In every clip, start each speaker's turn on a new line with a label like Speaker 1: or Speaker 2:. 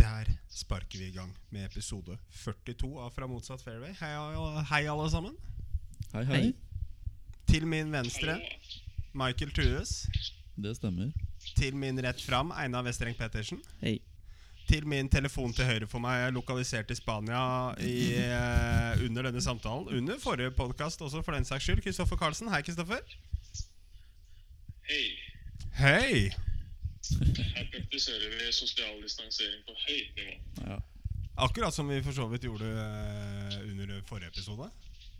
Speaker 1: Der sparker vi i gang med episode 42 av Fra motsatt fairway. Hei, a- hei alle sammen.
Speaker 2: Hei, hei.
Speaker 1: Til min venstre Michael Trues.
Speaker 2: Det stemmer.
Speaker 1: Til min rett fram Einar Vestreng Pettersen.
Speaker 3: Hei.
Speaker 1: Til min telefon til høyre for meg er lokalisert i Spania i, eh, under denne samtalen. Under forrige podkast også, for den saks skyld. Kristoffer Karlsen. Hei, Kristoffer.
Speaker 4: Hei.
Speaker 1: Hei.
Speaker 4: Her praktiserer vi sosial distansering på høyt nivå.
Speaker 2: Ja,
Speaker 1: Akkurat som vi for så vidt gjorde eh, under forrige episode.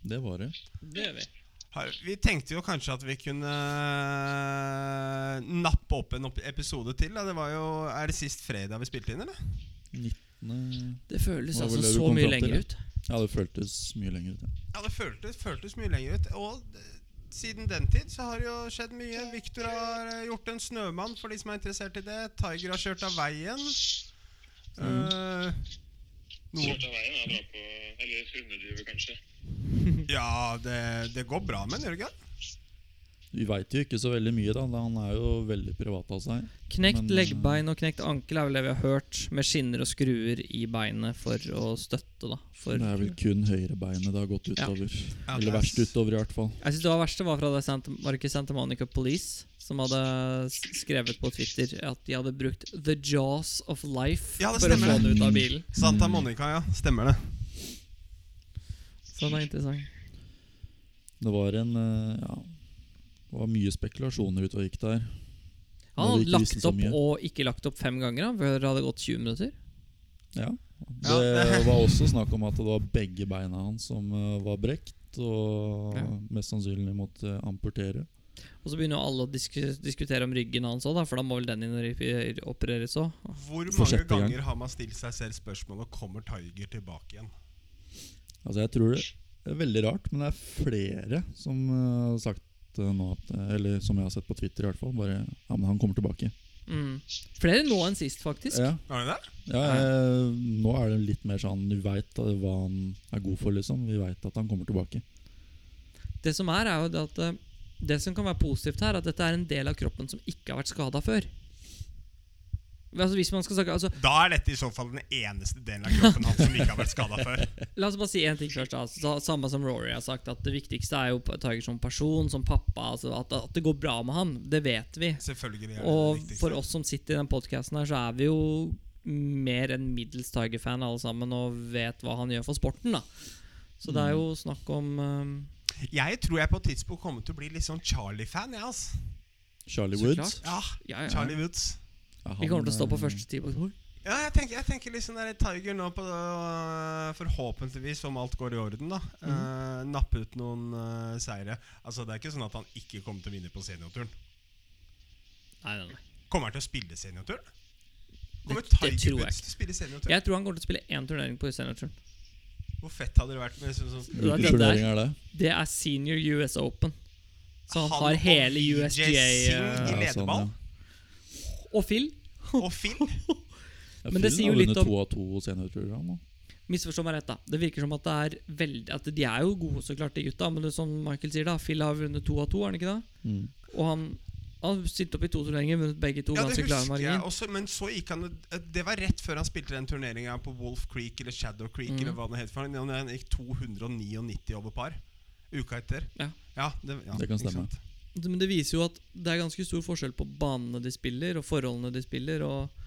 Speaker 2: det var det.
Speaker 3: Det gjør vi.
Speaker 1: Har- Vi tenkte jo kanskje at vi kunne eh, nappe opp en opp- episode til. Da. Det var jo, er det sist fredag vi spilte inn, eller?
Speaker 2: 19.
Speaker 3: Det føles
Speaker 2: Hva var
Speaker 3: altså
Speaker 2: det du
Speaker 3: så
Speaker 2: kom
Speaker 3: mye
Speaker 2: fram til,
Speaker 3: lenger
Speaker 2: da?
Speaker 3: ut.
Speaker 2: eh, Ja, det føltes mye lenger ut. Ja.
Speaker 1: Ja, det føltes, føltes mye lenger ut. Og eh, siden den tid så har det jo skjedd mye. Victor har eh, gjort en snømann, for de som er interessert i det. Tiger har kjørt av veien. Eh, noe.
Speaker 4: Kjørt av veien er bra på Eller hundedriver, kanskje. Eh,
Speaker 1: Ja, det, det går bra med den, gjør det ikke? det?
Speaker 2: Vi veit jo ikke så veldig mye, da. da Han er jo veldig privat av seg.
Speaker 3: Knekt
Speaker 2: Men, eh,
Speaker 3: leggbein og knekt ankel er vel det vi har hørt, med skinner og skruer i beinet for å støtte, da. For
Speaker 2: Det er vel kun høyrebeinet det har gått
Speaker 3: Ja.
Speaker 2: utover.
Speaker 1: Ja, det
Speaker 2: Eller
Speaker 1: er-
Speaker 2: verst utover, i hvert fall.
Speaker 3: Jeg synes det var verste var fra det Santa, var det ikke Santa Monica Police som hadde s- skrevet på Twitter at de hadde brukt 'The Jaws of Life'
Speaker 1: Ja, det
Speaker 3: for å
Speaker 1: stemmer
Speaker 3: få
Speaker 2: det.
Speaker 3: den ut av bilen.
Speaker 1: Santa Monica, ja. Stemmer det.
Speaker 3: Så den er interessant.
Speaker 2: Det var en eh, Ja. Det var mye spekulasjoner ute og gikk der. Når
Speaker 3: Han
Speaker 2: vi
Speaker 3: hadde
Speaker 2: ikke visste
Speaker 3: lagt
Speaker 2: så
Speaker 3: opp
Speaker 2: mye.
Speaker 3: og ikke lagt opp fem ganger da, før det hadde gått 20 minutter.
Speaker 2: Ja.
Speaker 1: Ja,
Speaker 2: Det var også snakk om at det var begge beina hans som eh, var brekt. Og
Speaker 3: Ja.
Speaker 2: mest sannsynlig måtte amputere.
Speaker 3: Og så begynner jo alle å disku diskutere om ryggen hans òg, for da må vel den inn og re- opereres òg.
Speaker 1: Hvor
Speaker 2: For
Speaker 1: mange
Speaker 2: sjette gang.
Speaker 1: ganger har man stilt seg selv spørsmålet Kommer Tiger tilbake igjen?
Speaker 2: Altså jeg tror det det er veldig rart, men det er flere som eh, har sagt eh, nå at eh, Eller som jeg har sett på Twitter i hvert fall. Bare Ja, men han kommer tilbake.
Speaker 3: Mm. Flere nå enn sist, faktisk.
Speaker 2: Ja,
Speaker 1: Har du det?
Speaker 2: ja eh, Nå er det litt mer sånn Du veit hva han er god for, liksom. Vi veit at han kommer tilbake.
Speaker 3: Det som er, er jo det at eh, Det som kan være positivt her, er at dette er en del av kroppen som ikke har vært skada før. Altså, hvis man skal snakke altså,
Speaker 1: Da er dette i så fall den eneste delen av kroppen hans som ikke har vært skada før.
Speaker 3: La oss bare si én ting først. da. Altså, samme som Rory har sagt, at det viktigste er jo Tiger som person, som pappa. Altså, at, at det går bra med han. Det vet vi.
Speaker 1: Selvfølgelig er det
Speaker 3: Og
Speaker 1: det viktigste.
Speaker 3: for oss som sitter i den podkasten her, så er vi jo mer enn middels Tiger-fan alle sammen, og vet hva han gjør for sporten, da. Så
Speaker 1: Mm.
Speaker 3: det er jo snakk om eh,
Speaker 1: Jeg tror jeg på et tidspunkt kommer til å bli litt sånn Charlie-fan. jeg, altså.
Speaker 2: Charlie
Speaker 3: Så
Speaker 2: Woods.
Speaker 1: Ja,
Speaker 3: Ja, ja.
Speaker 1: Charlie Woods.
Speaker 2: Ja, han,
Speaker 3: Vi kommer til å stå på
Speaker 2: eh,
Speaker 3: første ti på
Speaker 1: Ja, jeg tenker, jeg tenker liksom der Tiger nå på øh, Forhåpentligvis, om alt går i orden, da.
Speaker 3: Mhm.
Speaker 1: øh, nappe ut noen øh, seire. Altså, Det er ikke sånn at han ikke kommer til å vinne på seniorturen.
Speaker 3: Nei, nei, nei.
Speaker 1: Kommer han til å spille seniorturen? Kommer
Speaker 3: Det- det
Speaker 1: Tiger
Speaker 3: tror jeg
Speaker 1: Woods til å spille seniorturen?
Speaker 3: Jeg tror han kommer til å spille én turnering på seniorturen.
Speaker 1: Hvor fett hadde det vært med sånn, sånn
Speaker 3: Det er
Speaker 2: Hvilken
Speaker 3: det der.
Speaker 2: turnering er det?
Speaker 3: Det er senior US Open. Så han,
Speaker 1: Han
Speaker 3: har
Speaker 1: og
Speaker 3: hele
Speaker 1: VJ
Speaker 3: USGA
Speaker 1: Singh.
Speaker 3: eh,
Speaker 1: I
Speaker 2: Ja,
Speaker 1: ledeball?
Speaker 3: Og Phil.
Speaker 1: Og Phil?
Speaker 2: Ja,
Speaker 3: Men det sier jo litt om-
Speaker 2: to av to seniorprogram. da.
Speaker 3: Misforstå meg rett, da. Det virker som at det er veldig At de er jo gode, så klart, de gutta. Men det er som Michael sier, da. Phil har vunnet to av to, har han ikke det?
Speaker 2: Mm.
Speaker 3: Og han han har sittet opp i to turneringer, vunnet begge to.
Speaker 1: Ja, det
Speaker 3: ganske klare
Speaker 1: husker jeg
Speaker 3: margin.
Speaker 1: også, men så gikk han Det var rett før han spilte den turneringa på Wolf Creek eller Shadow Creek.
Speaker 3: Mhm.
Speaker 1: Eller hva det het for noe. Han gikk 299 over par uka etter.
Speaker 3: Ja.
Speaker 1: det, ja,
Speaker 2: Det kan
Speaker 1: ikke
Speaker 2: stemme.
Speaker 1: sant?
Speaker 3: Men det viser jo at det er ganske stor forskjell på banene de spiller, og forholdene de spiller, og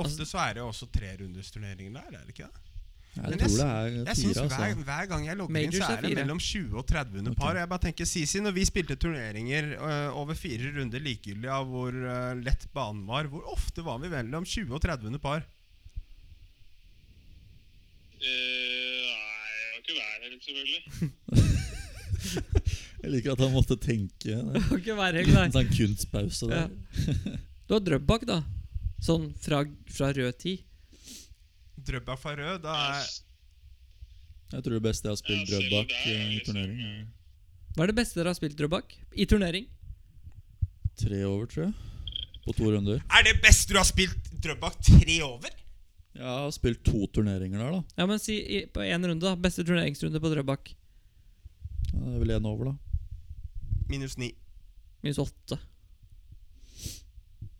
Speaker 3: Altså
Speaker 1: Ofte så er det jo også trerundersturneringer der, er det ikke det?
Speaker 2: Jeg
Speaker 1: Men jeg
Speaker 2: tror det er
Speaker 1: Jeg synes
Speaker 2: fire,
Speaker 1: hver,
Speaker 2: altså.
Speaker 1: hver gang jeg logger inn,
Speaker 3: Majors
Speaker 1: så
Speaker 3: er
Speaker 1: er det
Speaker 3: fire.
Speaker 1: mellom 20 og 30 under par.
Speaker 2: Ok.
Speaker 1: Og jeg bare tenker, Sisi, når vi spilte turneringer øh, over fire runder likegyldig av hvor øh, lett banen var, hvor ofte var vi mellom 20 og 30 under par?
Speaker 4: Eh, nei, det var ikke hver helg, selvfølgelig.
Speaker 2: Jeg liker at han måtte tenke. Det.
Speaker 3: Kan ikke være helt
Speaker 2: En
Speaker 3: der.
Speaker 2: sånn kunstpause der.
Speaker 3: Ja. Du har Drøbak, da. Sånn fra, fra rød tid.
Speaker 1: Drøbak fra rød, da er
Speaker 2: Jeg tror det beste jeg har spilt
Speaker 4: Ja, selv
Speaker 2: Drøbak
Speaker 4: der,
Speaker 2: eh, i
Speaker 4: liksom.
Speaker 2: turnering. er
Speaker 3: Hva er det beste dere har spilt, Drøbak? I turnering?
Speaker 2: Tre over, tror jeg. På to runder.
Speaker 1: Er det best du har spilt Drøbak tre over?
Speaker 2: Jeg har spilt to turneringer der, da.
Speaker 3: Ja, men si i, på én runde, da. Beste turneringsrunde på Drøbak.
Speaker 2: Ja, det er vel én over, da.
Speaker 1: Minus ni.
Speaker 3: Minus åtte.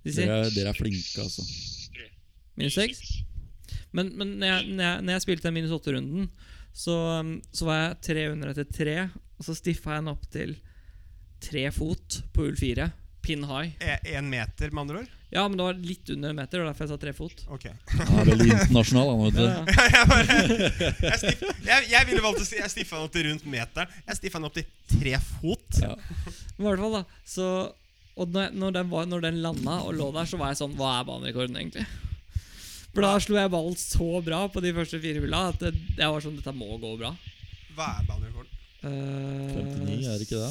Speaker 3: De sier
Speaker 2: Dere er, dere er flinke, altså.
Speaker 4: Tror jeg.
Speaker 3: Minus seks. Men, men når, jeg, når, jeg, når jeg spilte den minus åtte-runden, så, um, så var jeg tre under etter tre. Og så stiffa jeg den opp til tre fot på ull fire. Pin high.
Speaker 1: Én E, meter, med andre ord?
Speaker 3: Ja, men det var litt under en meter, og derfor jeg sa tre fot.
Speaker 1: Ok.
Speaker 2: Han er veldig internasjonal, han, vet du.
Speaker 3: Ja, ja.
Speaker 1: jeg, bare, jeg, stiff, jeg, jeg ville valgt å si Jeg stiffa den opp til rundt meteren. Jeg stiffa den opp til tre fot.
Speaker 2: Ja.
Speaker 3: Men i hvert fall, da. Så, og når, jeg- når, den var, når den landa og lå der, så var jeg sånn Hva er banerekorden, egentlig? For da slo jeg ballen så bra på de første fire hulla at det, jeg var sånn Dette må gå bra.
Speaker 1: Hva er banerekorden?
Speaker 3: Eh,
Speaker 2: 59, er det ikke det?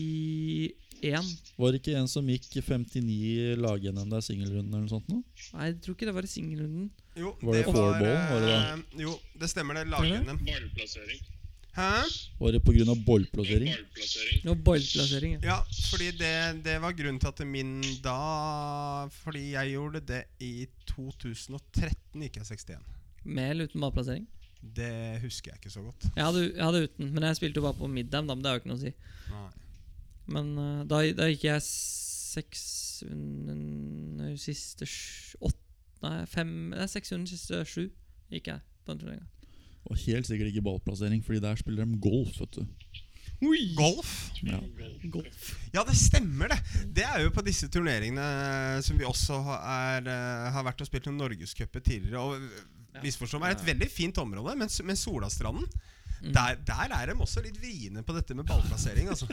Speaker 3: 61.
Speaker 2: Var det ikke en som gikk 59 lag-NM der singelrunden eller noe sånt? nå?
Speaker 3: Nei, jeg tror ikke det var i singelrunden.
Speaker 1: Jo,
Speaker 2: Var det floorball, var det da?
Speaker 1: eh, Jo, det stemmer, det.
Speaker 3: Stemmer
Speaker 1: Lag-NM.
Speaker 4: Ballplassering.
Speaker 1: Hæ?
Speaker 2: Var det pga. ballplassering?
Speaker 4: Ballplassering.
Speaker 3: Det var ballplassering. ja.
Speaker 1: Ja, fordi det, det var grunnen til at min da Fordi jeg gjorde det i 2013, gikk jeg 61.
Speaker 3: Med eller uten ballplassering?
Speaker 1: Det husker jeg ikke så godt.
Speaker 3: Jeg hadde, jeg hadde uten, men jeg spilte jo bare på middagen, da, men det har jo ikke noe å si.
Speaker 1: Nei.
Speaker 3: Men eh, da, da gikk jeg seks under siste sj- åtte Nei, fem Nei, seks under siste sju gikk jeg på den turneringa.
Speaker 2: Og helt sikkert ikke ballplassering, Fordi der spiller de golf, vet du.
Speaker 1: Golf?
Speaker 2: Ja.
Speaker 3: Golf.
Speaker 1: Ja, det stemmer, det. Det er jo på disse turneringene som vi også har- er, eh, har vært og spilt noen norgescuper tidligere. Og eh, misforstå meg, er et veldig fint område, men, s- men Solastranden
Speaker 3: Mm.
Speaker 1: der, der er de også litt vriene på dette med ballplassering, altså.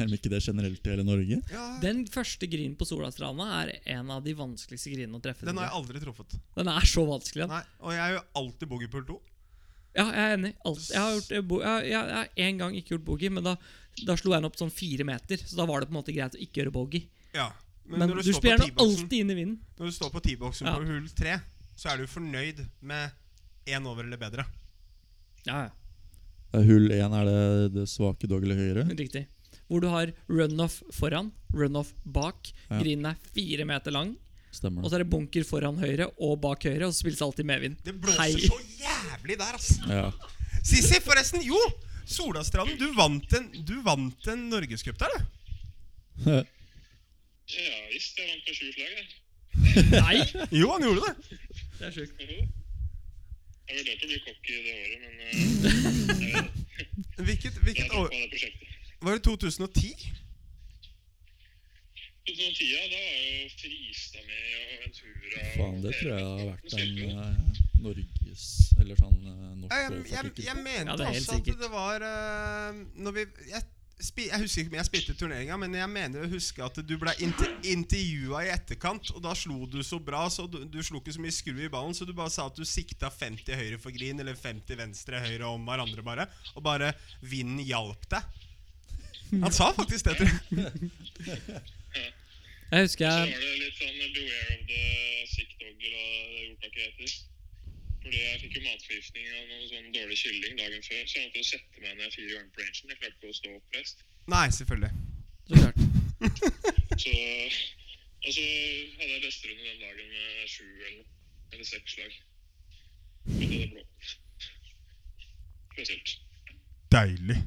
Speaker 2: Er de ikke det generelt i hele Norge?
Speaker 1: Ja,
Speaker 3: Den første grinen på Solastranda er en av de vanskeligste grinene å treffe.
Speaker 1: den har jeg
Speaker 3: tror
Speaker 1: aldri truffet.
Speaker 3: jeg. den er så vanskelig. Den.
Speaker 1: Nei, Og jeg er jo alltid boogiepul 2.
Speaker 3: Ja, jeg er enig. Alt, jeg har gjort eh, bo, jeg, jeg, jeg har en gang ikke gjort boogie, men da, da slo jeg den opp sånn fire meter. Så da var det på en måte greit å ikke gjøre boogie.
Speaker 1: Ja.
Speaker 3: Men,
Speaker 1: når
Speaker 3: du,
Speaker 1: står på
Speaker 3: spiller den
Speaker 1: T-boksen-
Speaker 3: alltid inn i vinden.
Speaker 1: Når du står på T-boksen
Speaker 3: Ja.
Speaker 1: på hull 3, så er du fornøyd med én over eller bedre.
Speaker 3: Ja, ja.
Speaker 2: Eh, Hull 1 er det, det svake dog eller høyre.
Speaker 3: Riktig. Hvor du har runoff foran, runoff bak.
Speaker 2: Ja.
Speaker 3: Grinen er fire meter lang,
Speaker 2: Stemmer
Speaker 3: og
Speaker 2: det.
Speaker 3: så er det bunker foran høyre og bak høyre, og så spilles det sånn. alltid medvind.
Speaker 1: Det blåser
Speaker 3: Hei.
Speaker 1: så jævlig der, ass!
Speaker 2: Ja.
Speaker 1: Sissy, forresten. Jo! Solastranden, du vant en, du vant en norgescup der, du.
Speaker 4: Ja visst, jeg vant på sju slag, jeg.
Speaker 3: Nei!
Speaker 1: Jo, han gjorde det.
Speaker 3: Det er sjukt.
Speaker 4: Jo. Jeg vurderte å bli kokk i det året, men eh,
Speaker 1: Hvilket,
Speaker 4: jeg
Speaker 1: hvilket år
Speaker 4: droppa det prosjektet.
Speaker 1: Var det 2010?
Speaker 4: 2010, ja, da var jo Fristad med og Ventura og
Speaker 2: Faen, det tror jeg har vært en eh, Norges Eller sånn eh, norsk
Speaker 1: Jeg, jeg,
Speaker 2: golfartikkel.
Speaker 1: jeg mente
Speaker 3: Ja, det er helt
Speaker 1: også at
Speaker 3: sikkert.
Speaker 1: det var eh, Når vi jeg, spi, jeg husker ikke om jeg spilte turneringa, men jeg mener å huske at du ble inter, intervjua i etterkant, og da slo du så bra, så du, du slo ikke så mye skru i ballen, så du bare sa at du sikta 50 høyre for green, eller 50 venstre høyre om hverandre, bare. Og bare vinden hjalp deg. Han sa faktisk det til deg.
Speaker 3: Jeg husker
Speaker 4: Så
Speaker 3: jeg
Speaker 4: var det litt sånn beware of the sick dog, eller hva det jordtaket heter. Fordi jeg fikk jo matforgiftning av noe sånn dårlig kylling dagen før, så jeg måtte jo sette meg ned fire ganger på rangen. Jeg klarte ikke å stå oppreist.
Speaker 1: Nei, selvfølgelig.
Speaker 3: Så klart.
Speaker 4: Så, og så hadde jeg besterunde den dagen med sju eller, eller seks slag. Ut av det blå. Spesielt.
Speaker 1: Deilig.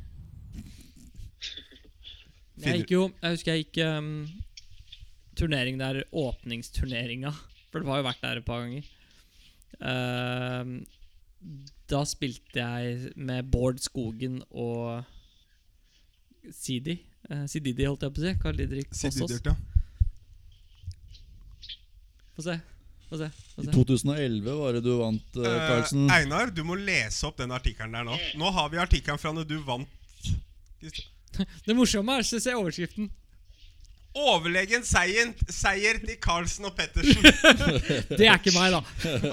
Speaker 3: Jeg gikk jo Jeg husker jeg gikk um, turnering der åpningsturneringa. For det har jo vært der et par ganger. Ehm, da spilte jeg med Bård Skogen og Sidi. Eh, Sididi, holdt jeg på å si. Karl Didrik Fossås.
Speaker 1: Sidedyrt, ja.
Speaker 3: Få se. Få se. Få
Speaker 2: I
Speaker 3: se.
Speaker 2: 2011 var det du vant, eh, Carlsen.
Speaker 1: Eh, Einar, du må lese opp den artikkelen der nå. Nå har vi artikkelen fra når du vant. Christ-
Speaker 3: Det morsomme er å se overskriften.
Speaker 1: Overlegen seier, seier til Carlsen og Pettersen.
Speaker 3: Det er ikke meg, da.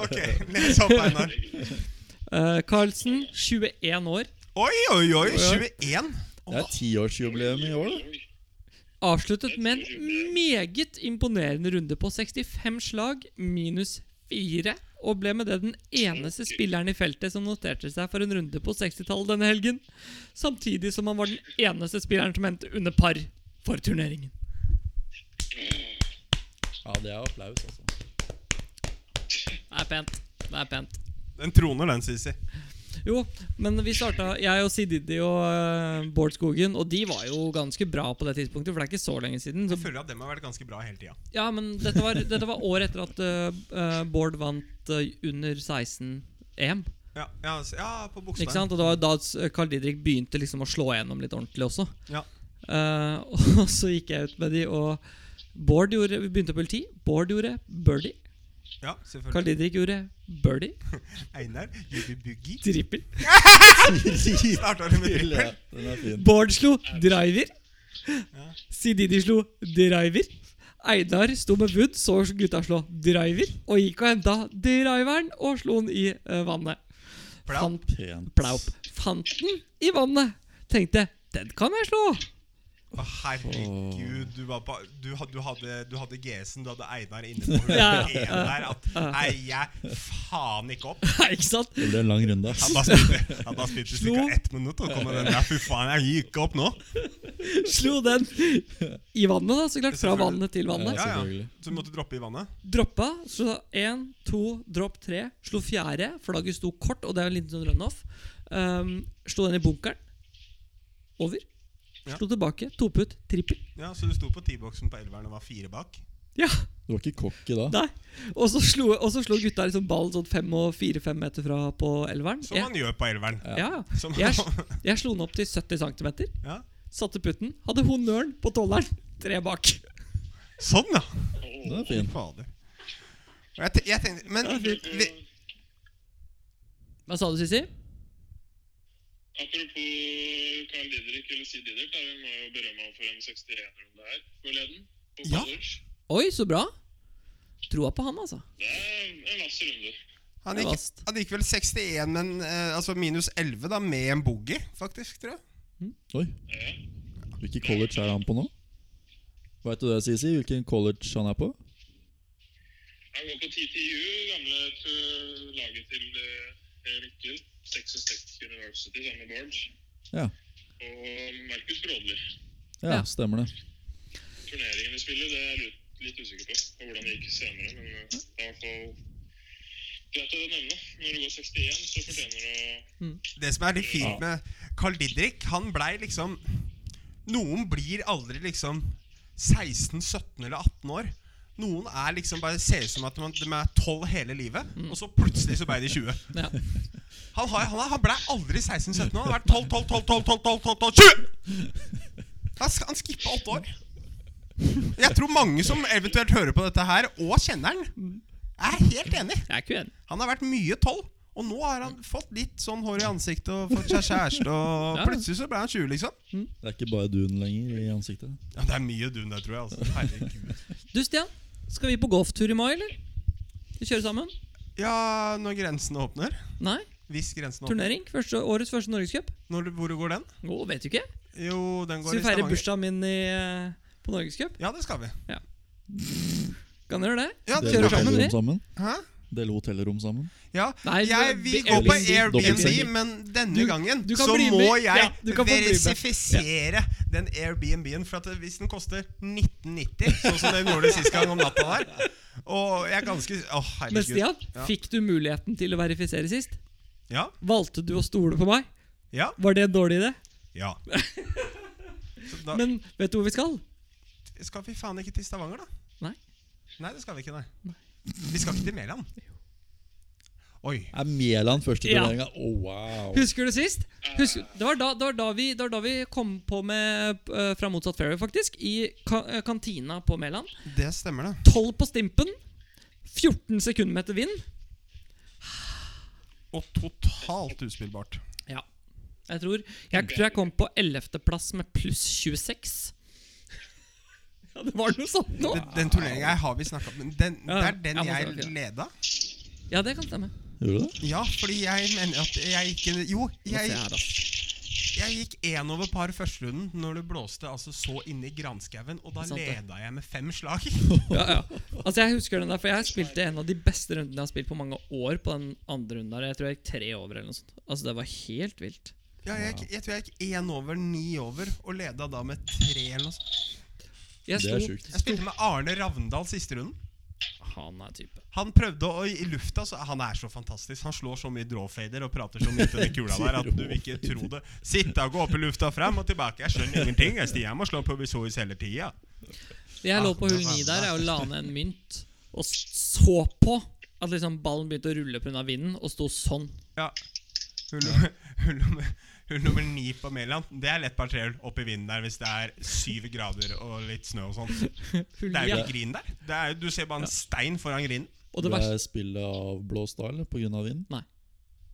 Speaker 1: Ok, les opp, Einar.
Speaker 3: Eh, Carlsen, 21 år.
Speaker 1: Oi, oi, oi. 21.
Speaker 2: Det er tiårsjubileum i år, da.
Speaker 3: Avsluttet med en meget imponerende runde på 65 slag minus 4. Og ble med det den eneste spilleren i feltet som noterte seg for en runde på 60-tallet denne helgen. Samtidig som han var den eneste spilleren som endte under par for turneringen.
Speaker 2: Ja, det er applaus, altså.
Speaker 3: Det er pent. Det er pent.
Speaker 1: Den troner, den, Sisi.
Speaker 3: Jo, men vi starta Jeg og Sididi og eh, Bård Skogen, og de var jo ganske bra på det tidspunktet, for det er ikke så lenge siden. Så,
Speaker 1: Jeg føler at dem har vært ganske bra hele tida.
Speaker 3: ja, men dette var, dette var året etter at eh, eh, Bård vant eh, under 16-EM.
Speaker 1: Ja, ja, s- ja, på
Speaker 3: Ikke
Speaker 1: Bogstad.
Speaker 3: sant? Og det var jo da s- Carl Didrik begynte liksom å slå igjennom litt ordentlig også.
Speaker 1: Ja.
Speaker 3: Eh, og så gikk jeg ut med de, og Bård gjorde Vi begynte på hull 10. Bård gjorde birdie.
Speaker 1: ja,
Speaker 3: Carl
Speaker 1: selvfølgelig.
Speaker 3: Didrik gjorde birdie.
Speaker 1: Einar, Jubi Boogie.
Speaker 3: Trippel.
Speaker 1: Starta du med
Speaker 2: Hyggelig,
Speaker 1: trippel?
Speaker 2: ja. Den er fin.
Speaker 3: Bård slo driver. Sididi slo driver. Einar sto med wood, så gutta slå driver. Og gikk og henta driveren og slo den i eh, vannet.
Speaker 1: Plau.
Speaker 3: Fant,
Speaker 2: Pent.
Speaker 3: plaup. Fant den i vannet. Tenkte den kan jeg slå.
Speaker 1: Å, herregud, du, var på, du, had- du hadde, du hadde GS-en, du hadde Einar inne på hullet
Speaker 3: Ja.
Speaker 1: én der. At eier jeg faen ikke opp.
Speaker 3: Nei, ikke sant?
Speaker 2: Det ble en lang runde, ass.
Speaker 1: Han bare spilte, han bare spilte
Speaker 3: Slo.
Speaker 1: ca. ett minutt, og kom med den der. Fy faen, jeg gir ikke opp nå.
Speaker 3: Slo den i vannet, da, så klart. Fra
Speaker 1: Selvfølgelig.
Speaker 3: vannet til vannet.
Speaker 1: Ja, ja.
Speaker 2: Selvfølgelig.
Speaker 1: Så du måtte droppe i vannet?
Speaker 3: Droppa, slo én, to, dropp tre. Slo fjerde. Flagget sto kort, og det er jo en liten sånn runoff. Um, slo den i bunkeren. Over.
Speaker 1: Ja.
Speaker 3: Slo tilbake. Toputt. Trippel.
Speaker 1: Ja, Så du sto på T-boksen på elveren og var fire bak?
Speaker 3: Ja,
Speaker 2: Du var ikke cocky da.
Speaker 3: nei. Og så slo, og så slo gutta liksom ballen sånn fem og fire-fem meter fra på elveren.
Speaker 1: Som man gjør på elveren.
Speaker 3: Jeg- ja, ja.
Speaker 1: Som-
Speaker 3: Jeg, jeg slo den opp til 70 cm.
Speaker 1: Ja.
Speaker 3: Satte putten. Hadde honnøren på tolleren. Tre bak.
Speaker 1: Sånn, ja.
Speaker 2: Den er fin.
Speaker 1: Fader. Og Jeg, te- jeg tenkte, men vi,
Speaker 3: Hva sa du, Sissi?
Speaker 4: Apropos Carl Didrik eller Sid Didrik, da, vi må jo berømme ham for en 61-runde her forleden. På
Speaker 1: Ja.
Speaker 4: college.
Speaker 3: Oi, så bra. Troa på han, altså.
Speaker 4: Det er en vass runde.
Speaker 1: han,
Speaker 3: Det var
Speaker 1: gikk,
Speaker 3: st-
Speaker 1: han gikk vel 61, men eh, altså minus 11 da, med en boogie, faktisk, tror jeg.
Speaker 2: Oi.
Speaker 4: Ja.
Speaker 2: Hvilket college er han på nå? Veit du det, Sisi? Hvilken college han er på?
Speaker 4: Han går på TTU, gamle t- laget til eh, Mikkel. Texas Tech University sammen med Bård.
Speaker 2: Ja.
Speaker 4: Og Markus Brådli.
Speaker 2: ja,
Speaker 3: Ja.
Speaker 2: stemmer det.
Speaker 4: Turneringen vi spiller, det er jeg litt- litt usikker på. Og hvordan det gikk senere, men eh, det er i hvert fall greit å nevne. Når du går 61, så fortjener du å
Speaker 1: Det som er litt fint med Carl Didrik, han blei liksom Noen blir aldri liksom 16, 17 eller 18 år. Noen er liksom bare ser ut som at man- de er 12 hele livet, og så plutselig så ble de 20.
Speaker 3: Ja.
Speaker 1: Han, har, han, er- han blei aldri 16-17, han har vært 12, 12, 12, 12, 12, 12, 12, 12 20! Han, sk- han skippa åtte år. Jeg tror mange som eventuelt hører på dette her, og kjenner han, er helt enig.
Speaker 3: Jeg er ikke uenig.
Speaker 1: Han har vært mye tolv, og nå har han fått litt sånn hår i ansiktet og fått seg kjæreste, og
Speaker 3: Ja.
Speaker 1: plutselig så ble han 20, liksom.
Speaker 2: Det er ikke bare dun lenger i ansiktet.
Speaker 1: Ja, Det er mye dun der, tror jeg. altså. Herregud.
Speaker 3: Du, Stian. Skal vi på golftur i mai, eller? Vi kjører sammen?
Speaker 1: Ja, når grensene åpner.
Speaker 3: Nei?
Speaker 1: Hvis grensene åpner.
Speaker 3: Turnering. Første, årets første norgescup.
Speaker 1: Når, hvor går den?
Speaker 3: Å, vet du ikke?
Speaker 1: Jo, den
Speaker 3: Skal
Speaker 1: går
Speaker 3: vi
Speaker 1: i
Speaker 3: feire
Speaker 1: Stavanger.
Speaker 3: bursdagen min i, eh, på norgescup?
Speaker 1: Ja, det skal vi.
Speaker 3: Kan dere gjøre det?
Speaker 1: Ja, det
Speaker 2: Dele
Speaker 3: Kjører
Speaker 1: skal vi.
Speaker 3: sammen, vi.
Speaker 2: hotellrom sammen.
Speaker 1: Hæ?
Speaker 2: Dele hotellrom sammen.
Speaker 1: Ja,
Speaker 3: Nei,
Speaker 1: jeg,
Speaker 3: det-
Speaker 1: vi
Speaker 3: det-
Speaker 1: går på
Speaker 2: Airbnb,
Speaker 1: Airbnb,
Speaker 2: dobbeltseng.
Speaker 1: men denne
Speaker 3: Du-
Speaker 1: gangen
Speaker 3: du kan
Speaker 1: så
Speaker 3: bli med.
Speaker 1: må jeg
Speaker 3: Ja, du kan få bli med.
Speaker 1: verifisere den Airbnb-en. For at hvis den koster 1990, sånn som den gjorde sist gang om natta der Og jeg er ganske Å,
Speaker 3: Men
Speaker 1: herregud.
Speaker 3: Stian,
Speaker 1: Ja.
Speaker 3: fikk du muligheten til å verifisere sist?
Speaker 1: Ja,
Speaker 3: Valgte du å stole på meg?
Speaker 1: ja,
Speaker 3: Var det en dårlig idé?
Speaker 1: ja. Så da
Speaker 3: Men vet du hvor vi skal?
Speaker 1: skal vi faen ikke til Stavanger, da?
Speaker 3: Nei.
Speaker 1: Nei, det skal vi ikke, nei. Vi skal ikke til Mæland. Oi.
Speaker 2: Er Mæland første
Speaker 3: Ja.
Speaker 2: turneringa? Oh, wow.
Speaker 3: Husker du sist? Husker, det, var da, det, var da vi, det var da vi kom på med eh, Fra motsatt fairway, faktisk. I ka eh, kantina på Mæland.
Speaker 1: Det stemmer, det.
Speaker 3: 12 på stimpen. 14 sekundmeter vind.
Speaker 1: Og totalt uspillbart.
Speaker 3: Ja. Jeg tror Jeg tror jeg kom på 11.-plass med pluss 26. Ja, det var noe sånt nå.
Speaker 1: Den, den turneringa her har vi snakka om, men den,
Speaker 3: Ja,
Speaker 1: det er den
Speaker 3: ja, men så er det
Speaker 1: jeg
Speaker 3: ikke
Speaker 1: leda.
Speaker 3: Ja, det kan stemme.
Speaker 2: Gjorde du det?
Speaker 1: Ja, fordi jeg mener at jeg ikke Jo,
Speaker 3: Nå ser
Speaker 1: jeg,
Speaker 3: Jeg, her, ass.
Speaker 1: jeg gikk én over par førsterunden når det blåste altså så inni granskauen, og da
Speaker 3: Det er sant, det.
Speaker 1: leda jeg med fem slag.
Speaker 3: ja, ja. Altså, jeg husker den der, for jeg spilte en av de beste rundene jeg har spilt på mange år. På den andre runden der Jeg tror jeg gikk tre over eller noe sånt. Altså, det var helt vilt.
Speaker 1: Ja, jeg, gikk- jeg tror jeg gikk én over, ni over, og leda da med tre eller noe sånt.
Speaker 3: Jeg
Speaker 2: Det
Speaker 3: sto,
Speaker 2: er sjukt.
Speaker 1: Jeg spilte med Arne Ravndal siste runden.
Speaker 3: Han er type.
Speaker 1: Han prøvde å i lufta så, Han er så fantastisk. Han slår så mye drawfader og prater så mye til den kula der at du vil ikke tro det. Sitte og gå opp i lufta frem og tilbake. Jeg skjønner ingenting. Jeg Stian må slå provisorisk hele tida.
Speaker 3: Ah, Det jeg lå på hull ni der, er å la ned en mynt og så på at liksom ballen begynte å rulle pga. vinden, og sto sånn.
Speaker 1: Ja. Hull, nummer- hull, nummer, hull nummer ni på Mæland, det er lett par trehull opp i vinden der hvis det er syv grader og litt snø og sånn. Det
Speaker 3: Hull
Speaker 1: er jo
Speaker 3: ni.
Speaker 1: ikke grin der. Det er, jo- du ser bare en stein foran grinen.
Speaker 3: Og det
Speaker 2: Ble
Speaker 3: verste
Speaker 2: spillet avblåst da, eller? På grunn av vinden?
Speaker 3: Nei.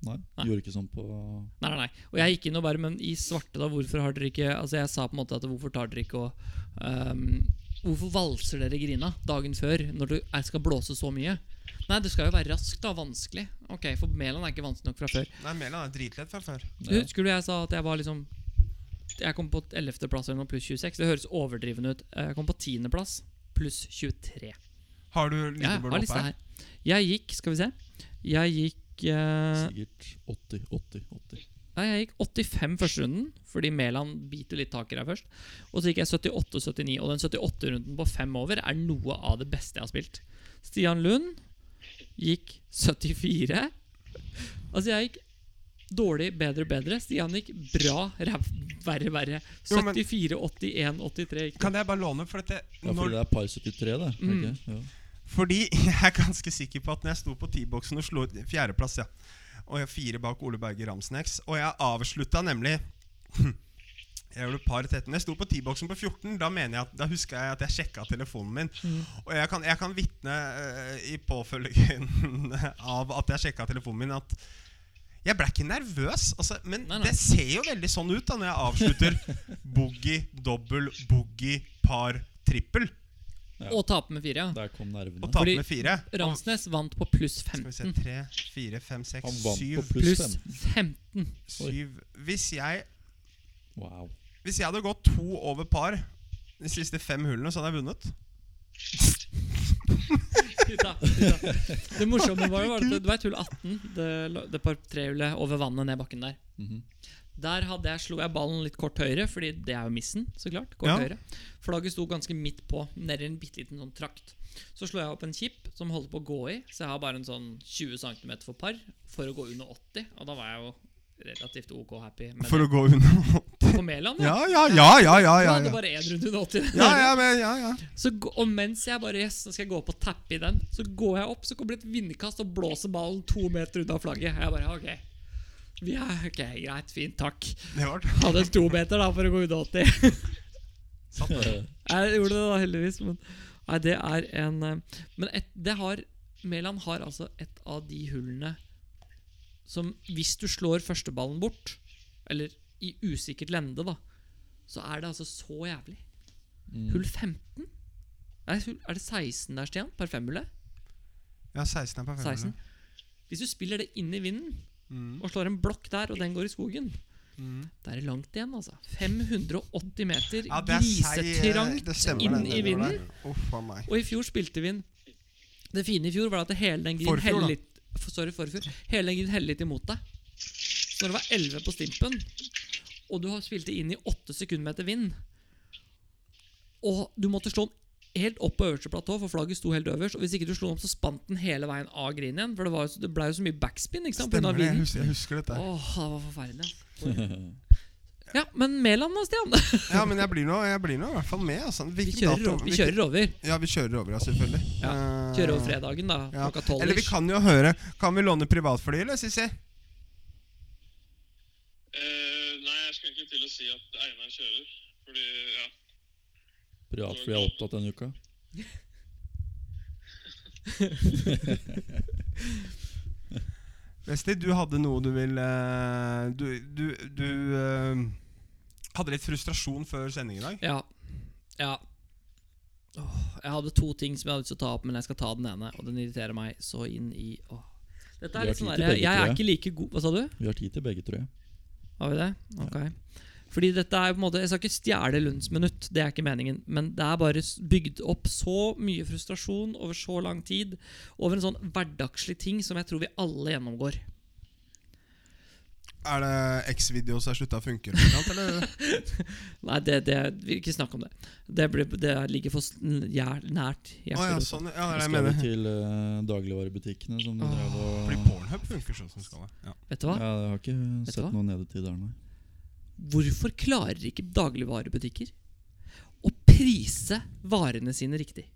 Speaker 2: Nei?
Speaker 3: Nei.
Speaker 2: Gjorde ikke sånn på
Speaker 3: Nei, nei, nei. Og jeg gikk inn og bare Men i svarte, da, hvorfor har dere ikke Altså, jeg sa på en måte at hvorfor tar dere ikke og ehm, Hvorfor valser dere grina dagen før når det er- skal blåse så mye? Nei, det skal jo være raskt, da. Vanskelig. Ok, For Mæland er ikke vanskelig nok fra før.
Speaker 1: Nei, Mæland er dritlett fra før.
Speaker 2: Ja.
Speaker 3: Husker du jeg sa at jeg var liksom Jeg kom på 11. plass eller noe, pluss 26. Det høres overdrivende ut. Eh, Jeg kom på 10. plass, pluss 23.
Speaker 1: Har du
Speaker 3: Ja, jeg
Speaker 1: lydbord
Speaker 3: har
Speaker 1: oppe her?
Speaker 3: lista her. Jeg gikk, skal vi se Jeg gikk eh,
Speaker 2: sikkert 80, 80, 80?
Speaker 3: Nei, jeg gikk 85 første runden, fordi Mæland biter litt tak i deg først. Og så gikk jeg 78-79, og den 78-runden på fem over er noe av det beste jeg har spilt. Stian Lund gikk 74. Altså, jeg gikk dårlig, bedre, bedre. Stian gikk bra, ræv, verre, verre.
Speaker 1: Jo, men-
Speaker 3: 74, 81, 83 gikk det.
Speaker 1: Kan jeg bare låne? For dette,
Speaker 2: Ja, for
Speaker 1: når,
Speaker 2: det er par 73, det. Mm.
Speaker 3: Mm.
Speaker 2: Ja.
Speaker 1: Fordi jeg er ganske sikker på at når jeg sto på T-boksen og slo fjerdeplass, ja. og jeg er fire bak Ole Berge Ramsnæs, og jeg avslutta nemlig Jeg gjorde par 13. Jeg sto på T-boksen på 14. Da, mener jeg at, da husker jeg at jeg sjekka telefonen min.
Speaker 3: Mm.
Speaker 1: Og jeg kan, jeg kan vitne eh, i påfølgen av at jeg sjekka telefonen min, at jeg ble ikke nervøs, altså, men
Speaker 3: Nei, nei.
Speaker 1: det ser jo veldig sånn ut da når jeg avslutter boogie, dobbel, boogie, par, trippel
Speaker 2: Ja.
Speaker 3: Og tape med fire, ja.
Speaker 2: Der kom nervene.
Speaker 1: og taper
Speaker 3: Fordi-
Speaker 1: med fire. Og-
Speaker 3: Ramsnes vant på pluss
Speaker 1: skal vi
Speaker 3: 15.
Speaker 1: se 3, 4, 5, 6,
Speaker 2: Han vant
Speaker 1: 7,
Speaker 2: på pluss
Speaker 3: Pluss
Speaker 2: 15.
Speaker 3: 15.
Speaker 1: 7 hvis jeg,
Speaker 2: Wow.
Speaker 1: hvis jeg hadde gått to over par de siste fem hullene, så hadde jeg vunnet.
Speaker 3: Gutta, gutta. Det morsomme var jo var at du vet hull 18, det, det par trehjulet over vannet ned bakken der.
Speaker 2: Mhm.
Speaker 3: Der hadde jeg, slo jeg ballen litt kort høyre, Fordi det er jo missen. så klart Kort
Speaker 1: Ja.
Speaker 3: høyre Flagget sto ganske midt på, nedi en bitte liten sånn trakt. Så slår jeg opp en chip som holder på å gå i, så jeg har bare en sånn 20 cm for par for å gå under 80. Og da var jeg jo relativt OK happy med
Speaker 1: For å gå unna.
Speaker 3: det. På Mæland,
Speaker 1: Ja, ja, ja, ja, ja.
Speaker 3: Jeg
Speaker 1: Ja,
Speaker 3: hadde
Speaker 1: ja,
Speaker 3: bare én runde under 80.
Speaker 1: ja, ja, men, ja, ja.
Speaker 3: Så, gå- og mens jeg bare yes, nå skal jeg gå opp og tappe i den, så går jeg opp, så kommer det et vindkast og blåser ballen to meter unna flagget. Jeg bare OK. Vi er, ok, Greit, fint, takk.
Speaker 1: Det var
Speaker 3: Hadde en tometer da for å gå unna 80.
Speaker 1: sant. det.
Speaker 3: Jeg gjorde det da heldigvis, men nei, det er en eh, Men et, det har Mæland har altså et av de hullene som hvis du slår førsteballen bort, eller i usikkert lende, da, så er det altså så jævlig. Hull 15? Nei, hull- er det 16 der, Stian? Par femhullet?
Speaker 1: Ja, 16 er på Mm.
Speaker 3: 16.
Speaker 1: 5.
Speaker 3: Hvis du spiller det inn i vinden og slår en blokk der, og den går i skogen Da er det langt igjen, altså. 580 meter
Speaker 1: Mm. Ja, det er seig, eh, det
Speaker 3: grisetrangt
Speaker 1: stemmer,
Speaker 3: inn
Speaker 1: det,
Speaker 3: i
Speaker 1: det var
Speaker 3: vinden.
Speaker 1: det. Uff a meg.
Speaker 3: Og i fjor spilte vi en Det fine i fjor var at hele den grinen
Speaker 1: Forfjor, da.
Speaker 3: heller litt for- Sorry, forfjor. Hele den grinen heller litt imot deg. Så når det var 11 på stimpen, og du har spilte inn i 8 sekundmeter vind, og du måtte slå den helt opp på øverste platå, for flagget sto helt øverst, og hvis ikke du slo den opp, så spant den hele veien av grinen igjen, for det, var, jo så- det ble jo så mye backspin, ikke sant, på grunn av
Speaker 1: Stemmer det. Jeg
Speaker 3: vinden.
Speaker 1: husker, jeg husker dette. her.
Speaker 3: Åh, det var forferdelig, altså. Ja, men Mæland da, Stian.
Speaker 1: Ja, men jeg blir nå, jeg blir nå i hvert fall med. Altså.
Speaker 3: Vi
Speaker 1: Hvilken
Speaker 3: kjører,
Speaker 1: dato-
Speaker 3: over- vi
Speaker 1: hvilken-
Speaker 3: kjører over.
Speaker 1: Ja, vi kjører over, ja, selvfølgelig.
Speaker 3: Ja,
Speaker 1: Eh,
Speaker 3: Kjører over fredagen, da.
Speaker 1: ja.
Speaker 3: Klokka tolv.
Speaker 1: Eller vi kan jo høre Kan vi låne privatfly, eller, Sissi?
Speaker 4: Eh, nei, jeg skulle egentlig til å si at Einar kjører. Fordi, ja.
Speaker 2: Privatfly er opptatt denne uka.
Speaker 1: Vesti, du hadde noe du vil eh, Du, du, du eh, hadde litt frustrasjon før sending i dag.
Speaker 3: Ja. ja. Åh, jeg hadde to ting som jeg hadde lyst til å ta opp, men jeg skal ta den ene. Og den irriterer meg så inn i åh. Dette
Speaker 2: Vi
Speaker 3: er litt
Speaker 2: har
Speaker 3: sånn
Speaker 2: tid til
Speaker 3: der,
Speaker 2: begge,
Speaker 3: Jeg er
Speaker 2: tror jeg.
Speaker 3: ikke like god Hva sa du?
Speaker 2: Vi har tid til begge, tror jeg.
Speaker 3: Har vi det? Ok. Fordi dette er på en måte Jeg skal ikke stjele Lunds minutt, det er ikke meningen. Men det er bare s- bygd opp så mye frustrasjon over så lang tid over en sånn hverdagslig ting som jeg tror vi alle gjennomgår.
Speaker 1: Er det X-videos har slutta å funke? eller noe sånt, Eller?
Speaker 3: Nei, det, det, vi ikke snakk om det. Det, blir, det ligger for sn- jær- nært
Speaker 1: Å ja,
Speaker 3: hjerterota.
Speaker 1: sånn. Ja, det er det jeg
Speaker 2: Skal vi
Speaker 1: mener.
Speaker 2: til eh, dagligvarebutikkene som
Speaker 1: Åh,
Speaker 2: drev og
Speaker 1: Fordi Pornhub funker sånn som skal det. Ja.
Speaker 3: Vet du
Speaker 2: Ja,
Speaker 3: hva?
Speaker 2: jeg har ikke
Speaker 3: du
Speaker 2: sett
Speaker 3: hva?
Speaker 2: noe nedetid der, nei.
Speaker 3: Hvorfor klarer ikke dagligvarebutikker å prise varene sine riktig?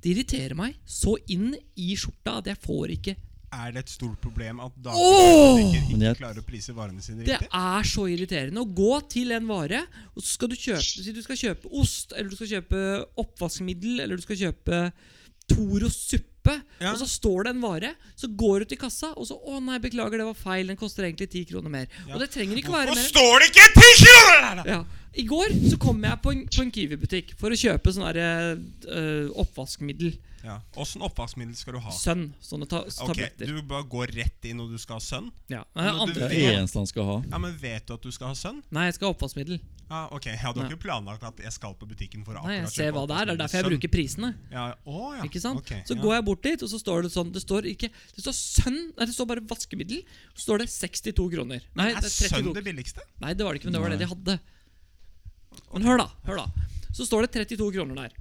Speaker 3: Det irriterer meg så inn i skjorta at jeg får ikke
Speaker 1: Er det et stort problem at
Speaker 3: Åh!
Speaker 1: dagligvarebutikker
Speaker 2: Men
Speaker 1: ikke
Speaker 2: jeg-
Speaker 1: klarer å prise varene sine
Speaker 3: Det
Speaker 1: riktig?
Speaker 3: er så irriterende å gå til en vare, og så skal du kjøpe Si du skal kjøpe ost, eller du skal kjøpe oppvaskmiddel, eller du skal kjøpe Toros suppe,
Speaker 1: Ja.
Speaker 3: og så står det en vare, så går du til kassa, og så 'Å nei, beklager, det var feil. Den koster egentlig ti kroner mer.'
Speaker 1: Ja.
Speaker 3: Og det trenger ikke være
Speaker 1: Hvorfor
Speaker 3: mer.
Speaker 1: står det ikke ti kroner der, da?!
Speaker 3: Ja. I går så kom jeg på en, på en Kiwi-butikk for å kjøpe sånn derre øh, oppvaskmiddel.
Speaker 1: Ja. Åssen oppvaskmiddel skal du ha?
Speaker 3: Sønn. Sånne ta
Speaker 1: Ah. Ok,
Speaker 3: tabletter.
Speaker 1: Du bare går rett inn når du skal ha sønn?
Speaker 3: Ja.
Speaker 1: Men du
Speaker 2: Det er
Speaker 3: Andre
Speaker 1: vet-
Speaker 2: det
Speaker 3: ting.
Speaker 2: eneste han skal ha.
Speaker 1: Ja, men Vet du at du skal ha sønn?
Speaker 3: Nei, jeg skal ha oppvaskmiddel.
Speaker 1: Ja, ok, Jeg hadde
Speaker 3: Nei.
Speaker 1: jo ikke planlagt at jeg skal på butikken for å
Speaker 3: Nei, jeg
Speaker 1: akkurat
Speaker 3: ser
Speaker 1: kjøpe
Speaker 3: hva det er. Det er derfor jeg
Speaker 1: oppvaskmiddel.
Speaker 3: bruker prisene.
Speaker 1: Sønn. ja, å, ja.
Speaker 3: Ikke sant?
Speaker 1: Ok,
Speaker 3: så
Speaker 1: ja.
Speaker 3: går jeg bort dit, og så står det sånn Det står ikke Det står sønn Nei, det står bare vaskemiddel. Så står det 62 kroner. Nei,
Speaker 1: Er
Speaker 3: det er
Speaker 1: sønn
Speaker 3: 32
Speaker 1: det billigste?
Speaker 3: Nei, det var det ikke, men det var det de hadde. Men hør, da. hør da Så står det 32 kroner der.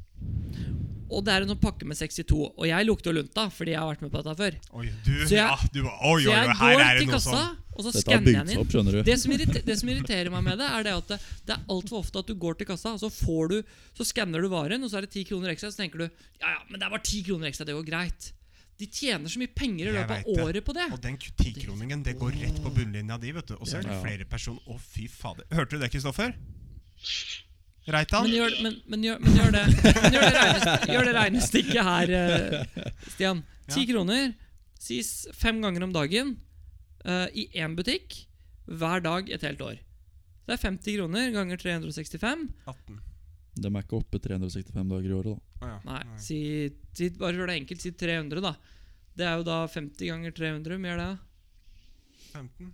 Speaker 3: Og det er en sånn pakke med 62. Og jeg lukter jo lunta, fordi jeg har vært med på dette før.
Speaker 1: Oi, du,
Speaker 3: Så jeg-
Speaker 1: ja, du var- oi,
Speaker 3: Så
Speaker 1: oi,
Speaker 3: jeg
Speaker 1: oi, her
Speaker 3: går
Speaker 1: er det
Speaker 3: til
Speaker 1: noe
Speaker 3: kassa,
Speaker 1: sånn
Speaker 3: og så
Speaker 2: Dette har
Speaker 3: skanner jeg
Speaker 2: bygd
Speaker 3: den
Speaker 2: seg
Speaker 3: inn.
Speaker 2: opp, skjønner du.
Speaker 3: Det som, irriter, det som irriterer meg med det, er det at det, det er altfor ofte at du går til kassa, og så får du Så skanner du varen, og så er det ti kroner ekstra. Så tenker du ja, ja, men det er bare ti kroner ekstra, det går greit. De tjener så mye penger i
Speaker 1: Jeg
Speaker 3: løpet
Speaker 1: vet
Speaker 3: av
Speaker 1: det.
Speaker 3: året på det.
Speaker 1: Og den tikroningen det går rett på bunnlinja di, vet du. Og så er det
Speaker 2: Ja.
Speaker 1: flere personer. Å, fy fader. Hørte du det, Kristoffer?
Speaker 3: Men
Speaker 1: Reitan?
Speaker 3: gjør, men, men, gjør, men gjør det men gjør det, regnes- gjør det regnestykket her, eh, Stian. Ti
Speaker 1: Ja.
Speaker 3: kroner sies fem ganger om dagen eh, i én butikk hver dag et helt år. Det er 50 kroner ganger 365.
Speaker 1: 18.
Speaker 2: De er ikke oppe 365 dager i året, da.
Speaker 1: Å ja.
Speaker 3: Nei, si, si, bare gjør det enkelt, si 300, da. Det er jo da 50 ganger 300. Hvor mye er det? da?
Speaker 1: 15?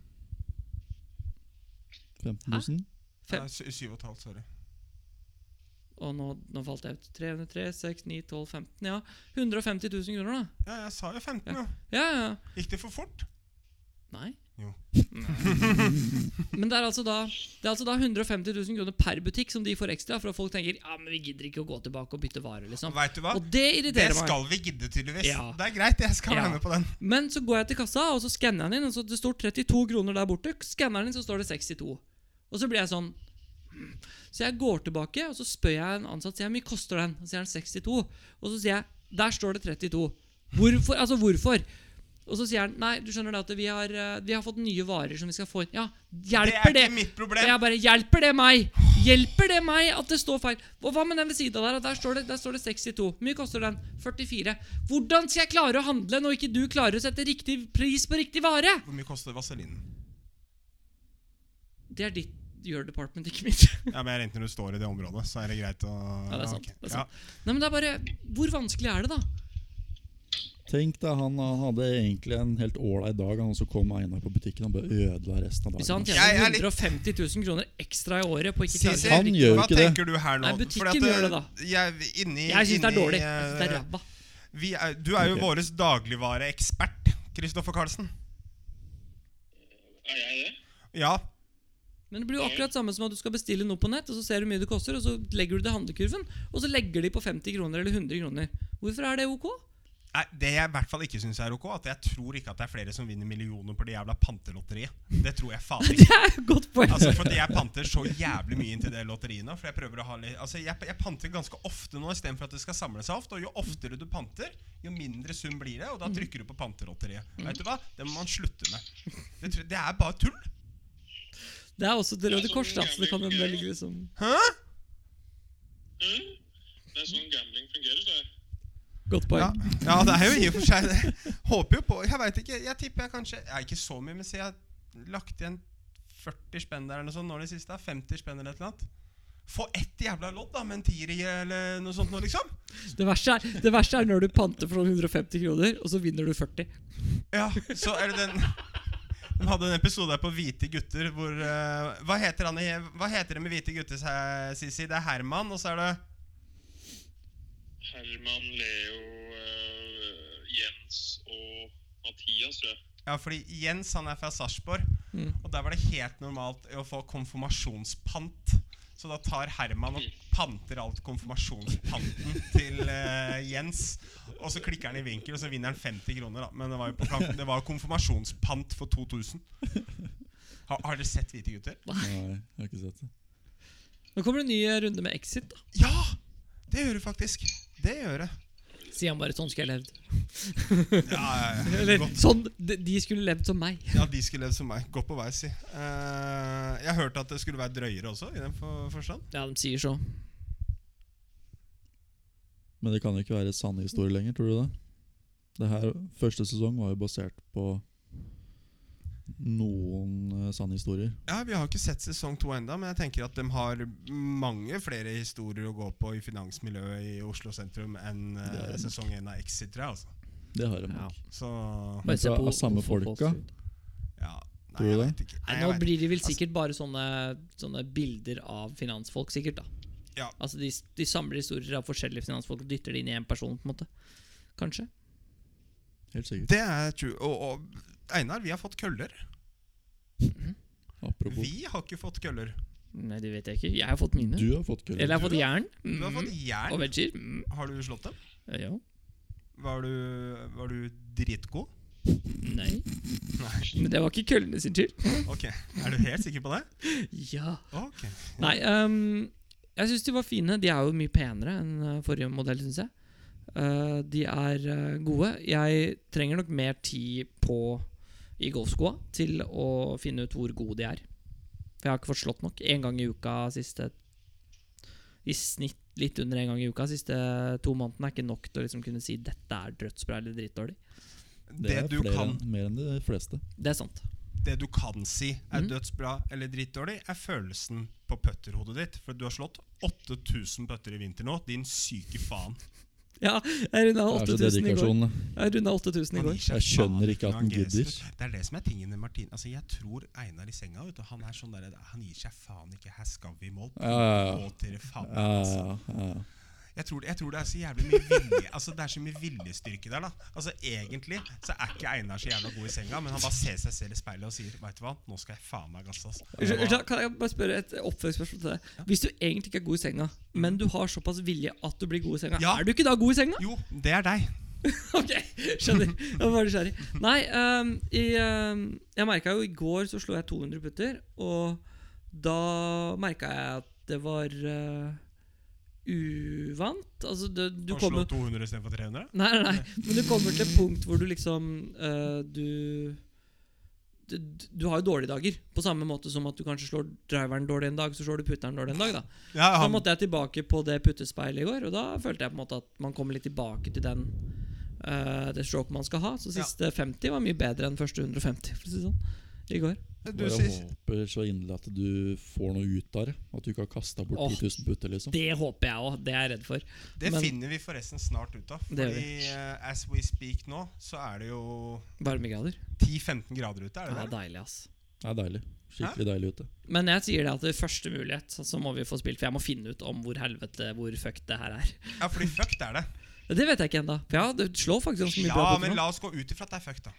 Speaker 2: 15 000?
Speaker 3: Fem.
Speaker 1: Nei, sy- syv og et halvt, sorry.
Speaker 3: Og nå, nå falt jeg ut. 303, 6, 9, 12, 15. Ja, 150 000 kroner, da.
Speaker 1: Ja, jeg sa jo 15, jo.
Speaker 3: Ja, ja, ja.
Speaker 1: Gikk det for fort?
Speaker 3: Nei.
Speaker 1: Jo.
Speaker 3: Men det er altså da Det er altså da 150 000 kroner per butikk som de får ekstra for at folk tenker Ja, men vi gidder ikke å gå tilbake og bytte varer, liksom.
Speaker 1: Veit du hva?
Speaker 3: Og det
Speaker 1: Det
Speaker 3: irriterer meg.
Speaker 1: skal vi gidde, tydeligvis.
Speaker 3: Ja.
Speaker 1: Det er greit, jeg skal
Speaker 3: Ja.
Speaker 1: være med på den.
Speaker 3: Men så går jeg til kassa, og så skanner jeg den inn. Og så det står 32 kroner der borte. Skanner den inn, så står det 62. Og så blir jeg sånn hmm. Så jeg går tilbake, og så spør jeg en ansatt sier jeg, hvor mye koster den. Og så sier han 62. Og så sier jeg der står det 32. Hvorfor? Altså, hvorfor? Og så sier han nei, du skjønner det at vi har, eh, vi har fått nye varer som vi skal få inn. Ja, hjelper
Speaker 1: det
Speaker 3: det?
Speaker 1: er ikke mitt
Speaker 3: Og
Speaker 1: problem.
Speaker 3: jeg bare Hjelper det meg? Hjelper det meg at det står feil? Og hva med den ved siden av der? at Der står det, der står det 62. Hvor mye koster den? 44. Hvordan skal jeg klare å handle når ikke du klarer å sette riktig pris på riktig vare?
Speaker 1: Hvor mye koster vaselinen?
Speaker 3: Det er ditt your department, ikke mitt.
Speaker 1: Ja, men jeg regner når du står i det området, så er det greit å
Speaker 3: Ja, det er sant.
Speaker 1: ok.
Speaker 3: Det er sant. Nei, men det er bare Hvor vanskelig er det, da?
Speaker 2: Tenk deg, han han hadde egentlig en helt ålreit dag, han så kom Einar på butikken og bare ødela resten av
Speaker 3: Hvis han
Speaker 2: dagen.
Speaker 1: Jeg er
Speaker 3: tjener
Speaker 1: litt-
Speaker 3: 150 000 kroner ekstra i året på ikke
Speaker 1: Si,
Speaker 3: klare
Speaker 1: si,
Speaker 2: Han gjør jo
Speaker 1: hva
Speaker 2: ikke det.
Speaker 1: tenker du her nå?
Speaker 3: Nei, butikken
Speaker 1: Fordi at, eh,
Speaker 3: gjør det da.
Speaker 1: Jeg, inni,
Speaker 3: Jeg syns det er
Speaker 1: inni,
Speaker 3: dårlig. Jeg synes det er
Speaker 1: eh,
Speaker 3: ræva.
Speaker 1: vi er, du er jo
Speaker 2: Ok.
Speaker 1: våres dagligvareekspert, Kristoffer Karlsen.
Speaker 4: Er jeg det?
Speaker 1: Ja.
Speaker 3: Men det blir jo akkurat samme som at du skal bestille noe på nett, og så ser du hvor mye det koster, og så legger du det i handlekurven, og så legger de på 50 kroner eller 100 kroner. Hvorfor er det ok?
Speaker 1: Nei, det jeg i hvert fall ikke syns er ok, at jeg tror ikke at det er flere som vinner millioner på det jævla pantelotteriet. Det tror jeg faen ikke.
Speaker 3: Det er et godt poeng.
Speaker 1: Altså, fordi jeg panter så jævlig mye inn til det lotteriet nå. For jeg prøver å ha litt Altså, jeg, jeg panter ganske ofte nå istedenfor at det skal samle seg ofte. Og jo oftere du panter, jo mindre sum blir det, og da
Speaker 3: Mm.
Speaker 1: trykker du på pantelotteriet. Vet du hva? Det må man slutte med. Det, tror- det er bare tull.
Speaker 3: Det er også til Røde Kors, da, så det kan hende det ligger liksom
Speaker 1: Hæ?
Speaker 4: Hm? Det er sånn gambling fungerer, sa jeg.
Speaker 3: Godt
Speaker 1: Ja,
Speaker 3: poeng.
Speaker 1: ja, det er jo i og for seg det. Håper jo på Jeg veit ikke. Jeg tipper jeg kanskje Jeg er ikke så mye, men si jeg har lagt igjen 40 spenn der eller noe sånt nå i det siste. 50 spenn eller et eller annet. Få ett jævla lodd, da, med en tier i eller noe sånt nå, liksom.
Speaker 3: Det, verste er, det verste er når du panter for noen 150 kroner, og så vinner du 40.
Speaker 1: Ja, så er det den De hadde en episode her på Hvite gutter hvor eh, Hva heter han i Hva heter det med hvite gutter, sa- Sisi? Det er Herman, og så er det
Speaker 4: Herman, Leo, eh, Jens og Mathias, tror jeg.
Speaker 1: Ja, fordi Jens, han er fra Sarpsborg.
Speaker 3: Mm.
Speaker 1: Og der var det helt normalt å få konfirmasjonspant. Så da tar Herman og panter alt konfirmasjonspanten til eh, Jens. Og så klikker han i vinkel, og så vinner han 50 kroner. da Men det var jo på kamp, det var jo konfirmasjonspant for 2000. Har, har dere sett Hvite gutter?
Speaker 2: Nei, jeg har ikke sett det.
Speaker 3: Nå kommer det en ny eh, runde med Exit. da
Speaker 1: Ja! Det gjør det faktisk. Det gjør det.
Speaker 3: Sier han bare 'sånn skulle jeg levd'.
Speaker 1: Ja, ja, ja.
Speaker 3: Eller
Speaker 1: Godt.
Speaker 3: sånn, de, de skulle levd som meg.
Speaker 1: Ja, de skulle levd som meg. Godt på vei, si. Eh, jeg hørte at det skulle være drøyere også, i den for forstand.
Speaker 3: Ja, de sier så.
Speaker 2: Men det kan jo ikke være sanne historier lenger, tror du det? Det her, Første sesong var jo basert på noen eh, sanne historier.
Speaker 1: Ja, Vi har ikke sett sesong to enda, men jeg tenker at de har mange flere historier å gå på i finansmiljøet i Oslo sentrum enn eh, sesong én av Exit, tror jeg. Altså.
Speaker 2: Det har de.
Speaker 3: Ja.
Speaker 1: Så
Speaker 2: Men fra av samme folka?
Speaker 1: ja. Nei,
Speaker 2: Tror du
Speaker 1: jeg
Speaker 2: det?
Speaker 1: vet ikke.
Speaker 3: Nei,
Speaker 1: jeg
Speaker 3: nå
Speaker 1: vet
Speaker 3: blir det vel
Speaker 1: Altså-
Speaker 3: sikkert bare sånne, sånne bilder av finansfolk, sikkert. da
Speaker 1: Ja.
Speaker 3: Altså de, de samler historier av forskjellige finansfolk og dytter det inn i én person. på en måte Kanskje.
Speaker 2: Helt sikkert.
Speaker 1: Det er true. Og, og Einar, vi har fått køller.
Speaker 2: Apropos.
Speaker 1: Vi har ikke fått køller.
Speaker 3: Nei, det vet jeg ikke. Jeg har fått mine.
Speaker 2: Du har fått køller.
Speaker 3: Eller jeg har fått jern.
Speaker 1: Du har fått
Speaker 3: Mm. Og
Speaker 1: jern.
Speaker 3: veggier. Mm.
Speaker 1: Har du slått dem?
Speaker 3: Ja.
Speaker 1: Var du, var du dritgod?
Speaker 3: Nei. Men det var ikke køllene sin skyld.
Speaker 1: Ok, Er du helt sikker på det?
Speaker 3: Ja.
Speaker 1: Ok
Speaker 3: Nei, ehm, jeg syns de var fine. De er jo mye penere enn eh, forrige modell, syns jeg. Eh, de er eh, gode. Jeg trenger nok mer tid på i golfskoa til å finne ut hvor gode de er. For jeg har ikke fått slått nok. Én gang i uka siste I snitt litt under én gang i uka siste to månedene er ikke nok til å liksom kunne si dette er drøtsbra eller drittdårlig.
Speaker 1: det,
Speaker 2: er
Speaker 1: du
Speaker 2: flere
Speaker 1: kan,
Speaker 2: enn- mer enn de fleste.
Speaker 3: Det er sant.
Speaker 1: det du kan si er
Speaker 3: Mm.
Speaker 1: dødsbra eller drittdårlig, er følelsen på putterhodet ditt. For du har slått 8000 putter i vinter nå, din syke faen.
Speaker 3: Ja, jeg runda
Speaker 2: Det er så
Speaker 3: 8000 i går.
Speaker 2: dedikasjon.
Speaker 3: Jeg rundet 8000 i
Speaker 1: Han
Speaker 3: går.
Speaker 1: gir seg
Speaker 2: Jeg skjønner
Speaker 1: faen
Speaker 2: ikke
Speaker 1: når
Speaker 2: at han
Speaker 1: geser.
Speaker 2: gidder.
Speaker 1: Det er det som er tingen med Martin. Altså, jeg tror Einar i senga vet du, Han er sånn der, han gir seg faen ikke. Her skal vi i mål.
Speaker 2: Ja, ja, ja.
Speaker 1: Gå til det faen.
Speaker 2: Ja,
Speaker 1: Altså.
Speaker 2: ja, ja.
Speaker 1: Jeg, tror, jeg tror det er så jævlig mye vilje Altså det er så mye viljestyrke der. da Altså Egentlig så er ikke Einar så jævla god i senga, men han bare ser seg selv i speilet og sier Vet du hva, nå skal jeg faen meg gasse. ass."
Speaker 3: Unnskyld, unnskyld, Kan jeg bare spørre et oppfølgingsspørsmål til deg? Hvis du egentlig ikke er god i senga, men du har såpass vilje at du blir god i senga,
Speaker 1: Ja.
Speaker 3: er du ikke da god i senga?
Speaker 1: Jo, det er deg.
Speaker 3: ok, skjønner. Jeg var bare nysgjerrig. Nei, ehm, i, ehm, jeg merka jo i går så slo jeg 200 putter, og da merka jeg at det var eh, uvant. Altså, det, du
Speaker 1: Du
Speaker 3: kommer
Speaker 1: slå 200 istedenfor 300?
Speaker 3: Nei, nei, nei. Men du kommer til et punkt hvor du liksom eh, du, du Du har jo dårlige dager. På samme måte som at du kanskje slår driveren dårlig en dag, så slår du putteren dårlig en dag. da
Speaker 1: Ja,
Speaker 3: Da
Speaker 1: han,
Speaker 3: måtte jeg tilbake på det puttespeilet i går, og da følte jeg på en måte at man kommer litt tilbake til den eh, det stroke man skal ha. Så
Speaker 1: Ja.
Speaker 3: siste 50 var mye bedre enn første 150, for å si det sånn. I går.
Speaker 1: du,
Speaker 2: Bare
Speaker 1: sier,
Speaker 2: håper så inderlig at du får noe ut av det. At du ikke har kasta bort
Speaker 3: Åh,
Speaker 2: 10 000 putter, liksom.
Speaker 3: Det håper jeg òg. Det er jeg redd for.
Speaker 1: det
Speaker 3: men-
Speaker 1: finner vi forresten snart ut av.
Speaker 3: Det gjør
Speaker 1: Fordi eh, as we speak nå, så er det jo
Speaker 3: Varmegrader.
Speaker 1: 10-15 grader ute. er
Speaker 3: Ja,
Speaker 1: det det?
Speaker 3: deilig, ass.
Speaker 2: Det er deilig. Skikkelig deilig ute.
Speaker 3: Men jeg sier det at det er første mulighet, så- så må vi få spilt. For jeg må finne ut om hvor helvete, hvor fucked det her er.
Speaker 1: Ja, fordi fuck det er det.
Speaker 3: Det vet jeg ikke ennå. For ja, det slår faktisk ganske mye
Speaker 1: Ja,
Speaker 3: bra
Speaker 1: men
Speaker 3: putter nå.
Speaker 1: la oss gå ut ifra at det er fuck, da.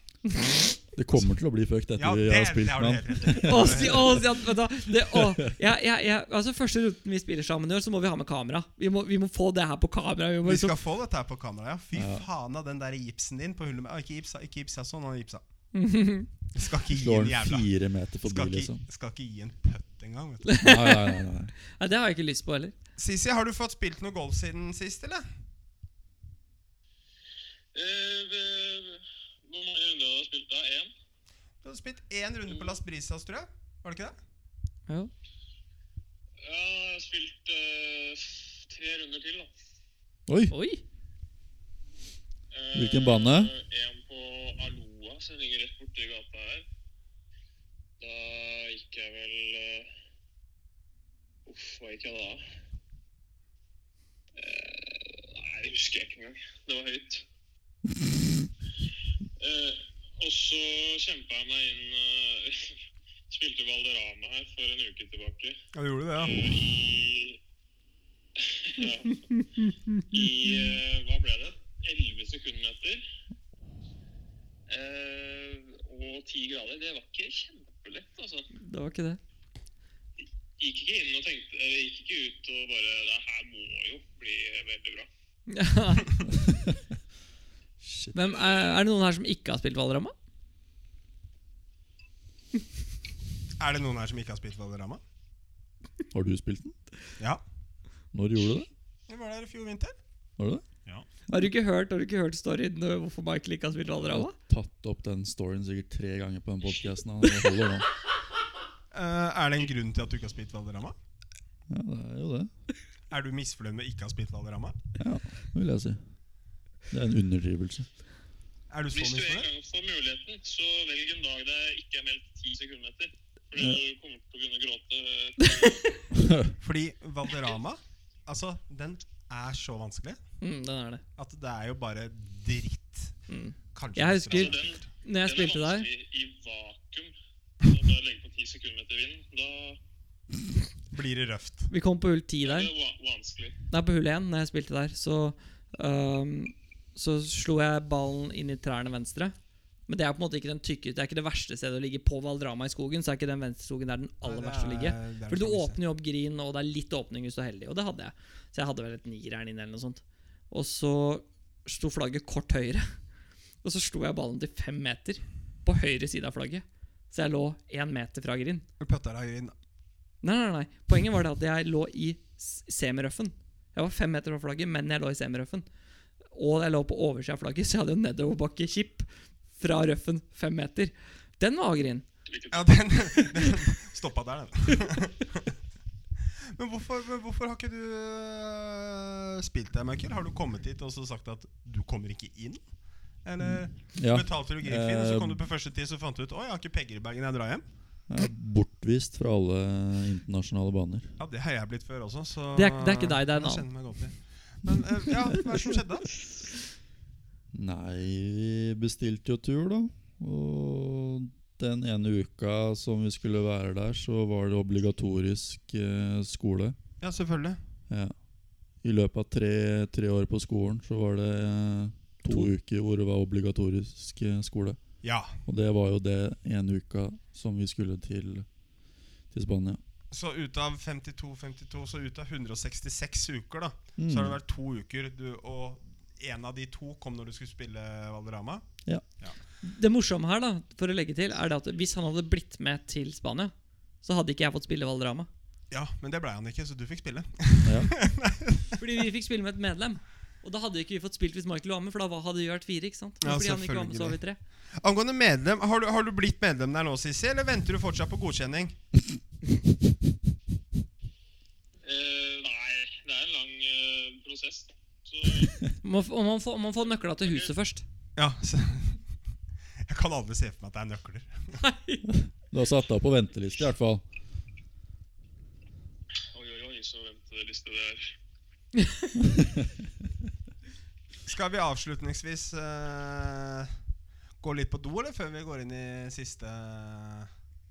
Speaker 2: Det kommer til å bli fucked etter
Speaker 1: Ja,
Speaker 2: vi
Speaker 1: det,
Speaker 2: har
Speaker 1: det
Speaker 2: spilt
Speaker 1: har
Speaker 2: med
Speaker 1: du
Speaker 2: han.
Speaker 1: helt rett i.
Speaker 3: Å, si, å, si, at- vet du, hva, det, å, jeg, jeg, jeg, altså Første runden vi spiller sammen i år, så må vi ha med kamera. Vi må, vi må få det her på kamera. Vi må
Speaker 1: Vi
Speaker 3: liksom,
Speaker 1: skal få dette her på kamera, ja. Fy faen av den der gipsen din på hullet med ah, Ikke gipsa, ikke gipsa, sånn han gipsa. Du skal ikke gi
Speaker 2: Slår
Speaker 1: en
Speaker 2: den
Speaker 1: jævla
Speaker 2: fire meter forbi,
Speaker 1: skal ikke,
Speaker 2: liksom.
Speaker 1: skal ikke gi en putt engang. vet du.
Speaker 2: Nei, nei, nei, nei.
Speaker 3: nei, det har jeg ikke lyst på heller.
Speaker 1: Sisi, har du fått spilt noe golf siden sist, eller?
Speaker 4: Eh, det- Hvor mange runder har du spilt da? Én?
Speaker 1: Du har spilt én runde på Las Brisas, tror jeg. Var det ikke det?
Speaker 3: Jo.
Speaker 4: Ja, jeg har spilt eh, tre runder til, da.
Speaker 2: Oi!
Speaker 3: Oi!
Speaker 4: Eh,
Speaker 2: Hvilken bane?
Speaker 4: En på Aloa, som ligger rett borti gata her. Da gikk jeg vel eh, Uff, hva gikk jeg da? Eh, Nei, det husker jeg ikke engang. Det var høyt. Eh, og så kjempa jeg meg inn eh, Spilte Valderama her for en uke tilbake.
Speaker 1: Ja, du gjorde det,
Speaker 4: Eh, I ja. I eh, hva ble det? 11 sekundmeter. Eh, og 10 grader. Det var ikke kjempe kjempelett, altså.
Speaker 3: Det var ikke det.
Speaker 4: Gikk ikke inn og tenkte Eller gikk ikke ut og bare Det her må jo bli veldig bra.
Speaker 2: Shit.
Speaker 3: Hvem, er, er det noen her som ikke har spilt Valderama?
Speaker 1: Er det noen her som ikke har spilt Valderama?
Speaker 2: Har du spilt den?
Speaker 1: Ja.
Speaker 2: Når gjorde du det?
Speaker 1: Vi var der i fjor vinter.
Speaker 2: Har du det?
Speaker 3: Har du ikke hørt, har du ikke hørt storyen øh, hvorfor Michael ikke har spilt
Speaker 2: Jeg
Speaker 3: Valderama?
Speaker 2: har tatt opp den storyen sikkert tre ganger på den podcasten og det holder nå.
Speaker 1: Eh, er det en grunn til at du ikke har spilt Valderama?
Speaker 2: Ja, det er jo det.
Speaker 1: Er du misfornøyd med ikke å ha spilt Valderama?
Speaker 2: Ja, det vil jeg si. Det er en underdrivelse.
Speaker 1: Er du så
Speaker 4: Hvis du en
Speaker 1: misfornøyd?
Speaker 4: gang får muligheten, så velg en dag det ikke er meldt ti sekunder etter. Fordi
Speaker 2: Ja.
Speaker 4: du kommer til å kunne gråte.
Speaker 1: Fordi Valderama, altså, den er så vanskelig
Speaker 3: Mm, den er det.
Speaker 1: at det er jo bare dritt.
Speaker 3: Mm.
Speaker 1: Kanskje
Speaker 3: Jeg
Speaker 1: Valderama er
Speaker 3: husker-
Speaker 1: kult.
Speaker 3: Når jeg
Speaker 4: den er
Speaker 3: spilte der
Speaker 4: vanskelig i vakuum. Så bare legge på ti sekunder etter vind. Da
Speaker 1: Blir det røft.
Speaker 3: Vi kom på hull 10
Speaker 4: er
Speaker 3: der.
Speaker 4: det va- vanskelig.
Speaker 3: Nei, på hull 1, når jeg spilte der, så øhm, Så slo jeg ballen inn i trærne venstre. Men det er på en måte ikke den tykke Det er ikke det verste stedet å ligge på Valderama i skogen. Så er ikke den venstre skogen der den
Speaker 1: Nei,
Speaker 3: aller
Speaker 1: det
Speaker 3: verste å
Speaker 1: er-
Speaker 3: ligge.
Speaker 1: det er liksom
Speaker 3: Fordi du
Speaker 1: en sjanse.
Speaker 3: åpner jo opp green, og det er litt åpning hvis du er heldig. Og det hadde jeg. Så jeg hadde vel et nier'n inn eller noe sånt. Og så sto flagget kort høyre. Og så slo jeg ballen til fem meter på høyre side av flagget. Så jeg lå én meter fra green.
Speaker 1: Du putter deg inn.
Speaker 3: Nei, nei, nei. Poenget var det at jeg lå i s- semirøffen. Jeg var fem meter fra flagget, men jeg lå i semirøffen. Og jeg lå på oversida av flagget, så jeg hadde jo nedoverbakke chip fra røffen fem meter. Den var green.
Speaker 4: Hvilket
Speaker 1: Ja, den, den stoppa der, den. Men hvorfor, men hvorfor har ikke du øh, spilt deg, Michael? Har du kommet hit og så sagt at du kommer ikke inn? Eller
Speaker 2: Ja,
Speaker 1: betalte du Griffin, og så
Speaker 2: Eh,
Speaker 1: kom du på første tid så fant du ut Å, jeg har ikke penger i bagen, jeg drar hjem.
Speaker 2: jeg er bortvist fra alle internasjonale baner.
Speaker 1: Ja, det har jeg blitt før også, så
Speaker 3: Det er- det er ikke deg, det er en
Speaker 1: jeg kjenner meg godt i. Men øh, ja, hva er det som skjedde?
Speaker 2: Nei, vi bestilte jo tur, da. Og den ene uka som vi skulle være der, så var det obligatorisk eh, skole.
Speaker 1: Ja, selvfølgelig.
Speaker 2: Ja. I løpet av tre, tre år på skolen så var det eh, to,
Speaker 3: To.
Speaker 2: uker hvor det var obligatorisk eh, skole.
Speaker 1: Ja,
Speaker 2: Og det var jo det ene uka som vi skulle til, til Spania.
Speaker 1: så ut av 52-52, så ut av 166 uker, da,
Speaker 2: Mm.
Speaker 1: så har det vært to uker, du, og en av de to kom når du skulle spille Valderama.
Speaker 3: Det morsomme her, da, for å legge til, er det at hvis han hadde blitt med til Spania, så hadde ikke jeg fått spille Valderama.
Speaker 1: Ja, men det blei han ikke, så du fikk spille.
Speaker 2: Ja.
Speaker 3: Fordi vi fikk spille med et medlem. Og da hadde ikke vi fått spilt hvis Michael var med, for da var- hadde vi vært fire. ikke sant? Men
Speaker 1: Ja,
Speaker 3: fordi han ikke var med, så var vi tre.
Speaker 1: Angående medlem, har du, har du blitt medlem der nå, Sissi, eller venter du fortsatt på godkjenning?
Speaker 4: Eh, Nei, det er en lang eh, prosess. da. Så
Speaker 3: Man, f- og man, får, man får nøkla til huset først.
Speaker 1: Ja, så Jeg kan aldri se for meg at det er nøkler.
Speaker 2: Du har satt deg opp på venteliste, i hvert fall.
Speaker 4: oi, oi, oi, så venteliste det er.
Speaker 1: Skal vi avslutningsvis eh, gå litt på do, eller før vi går inn i siste eh,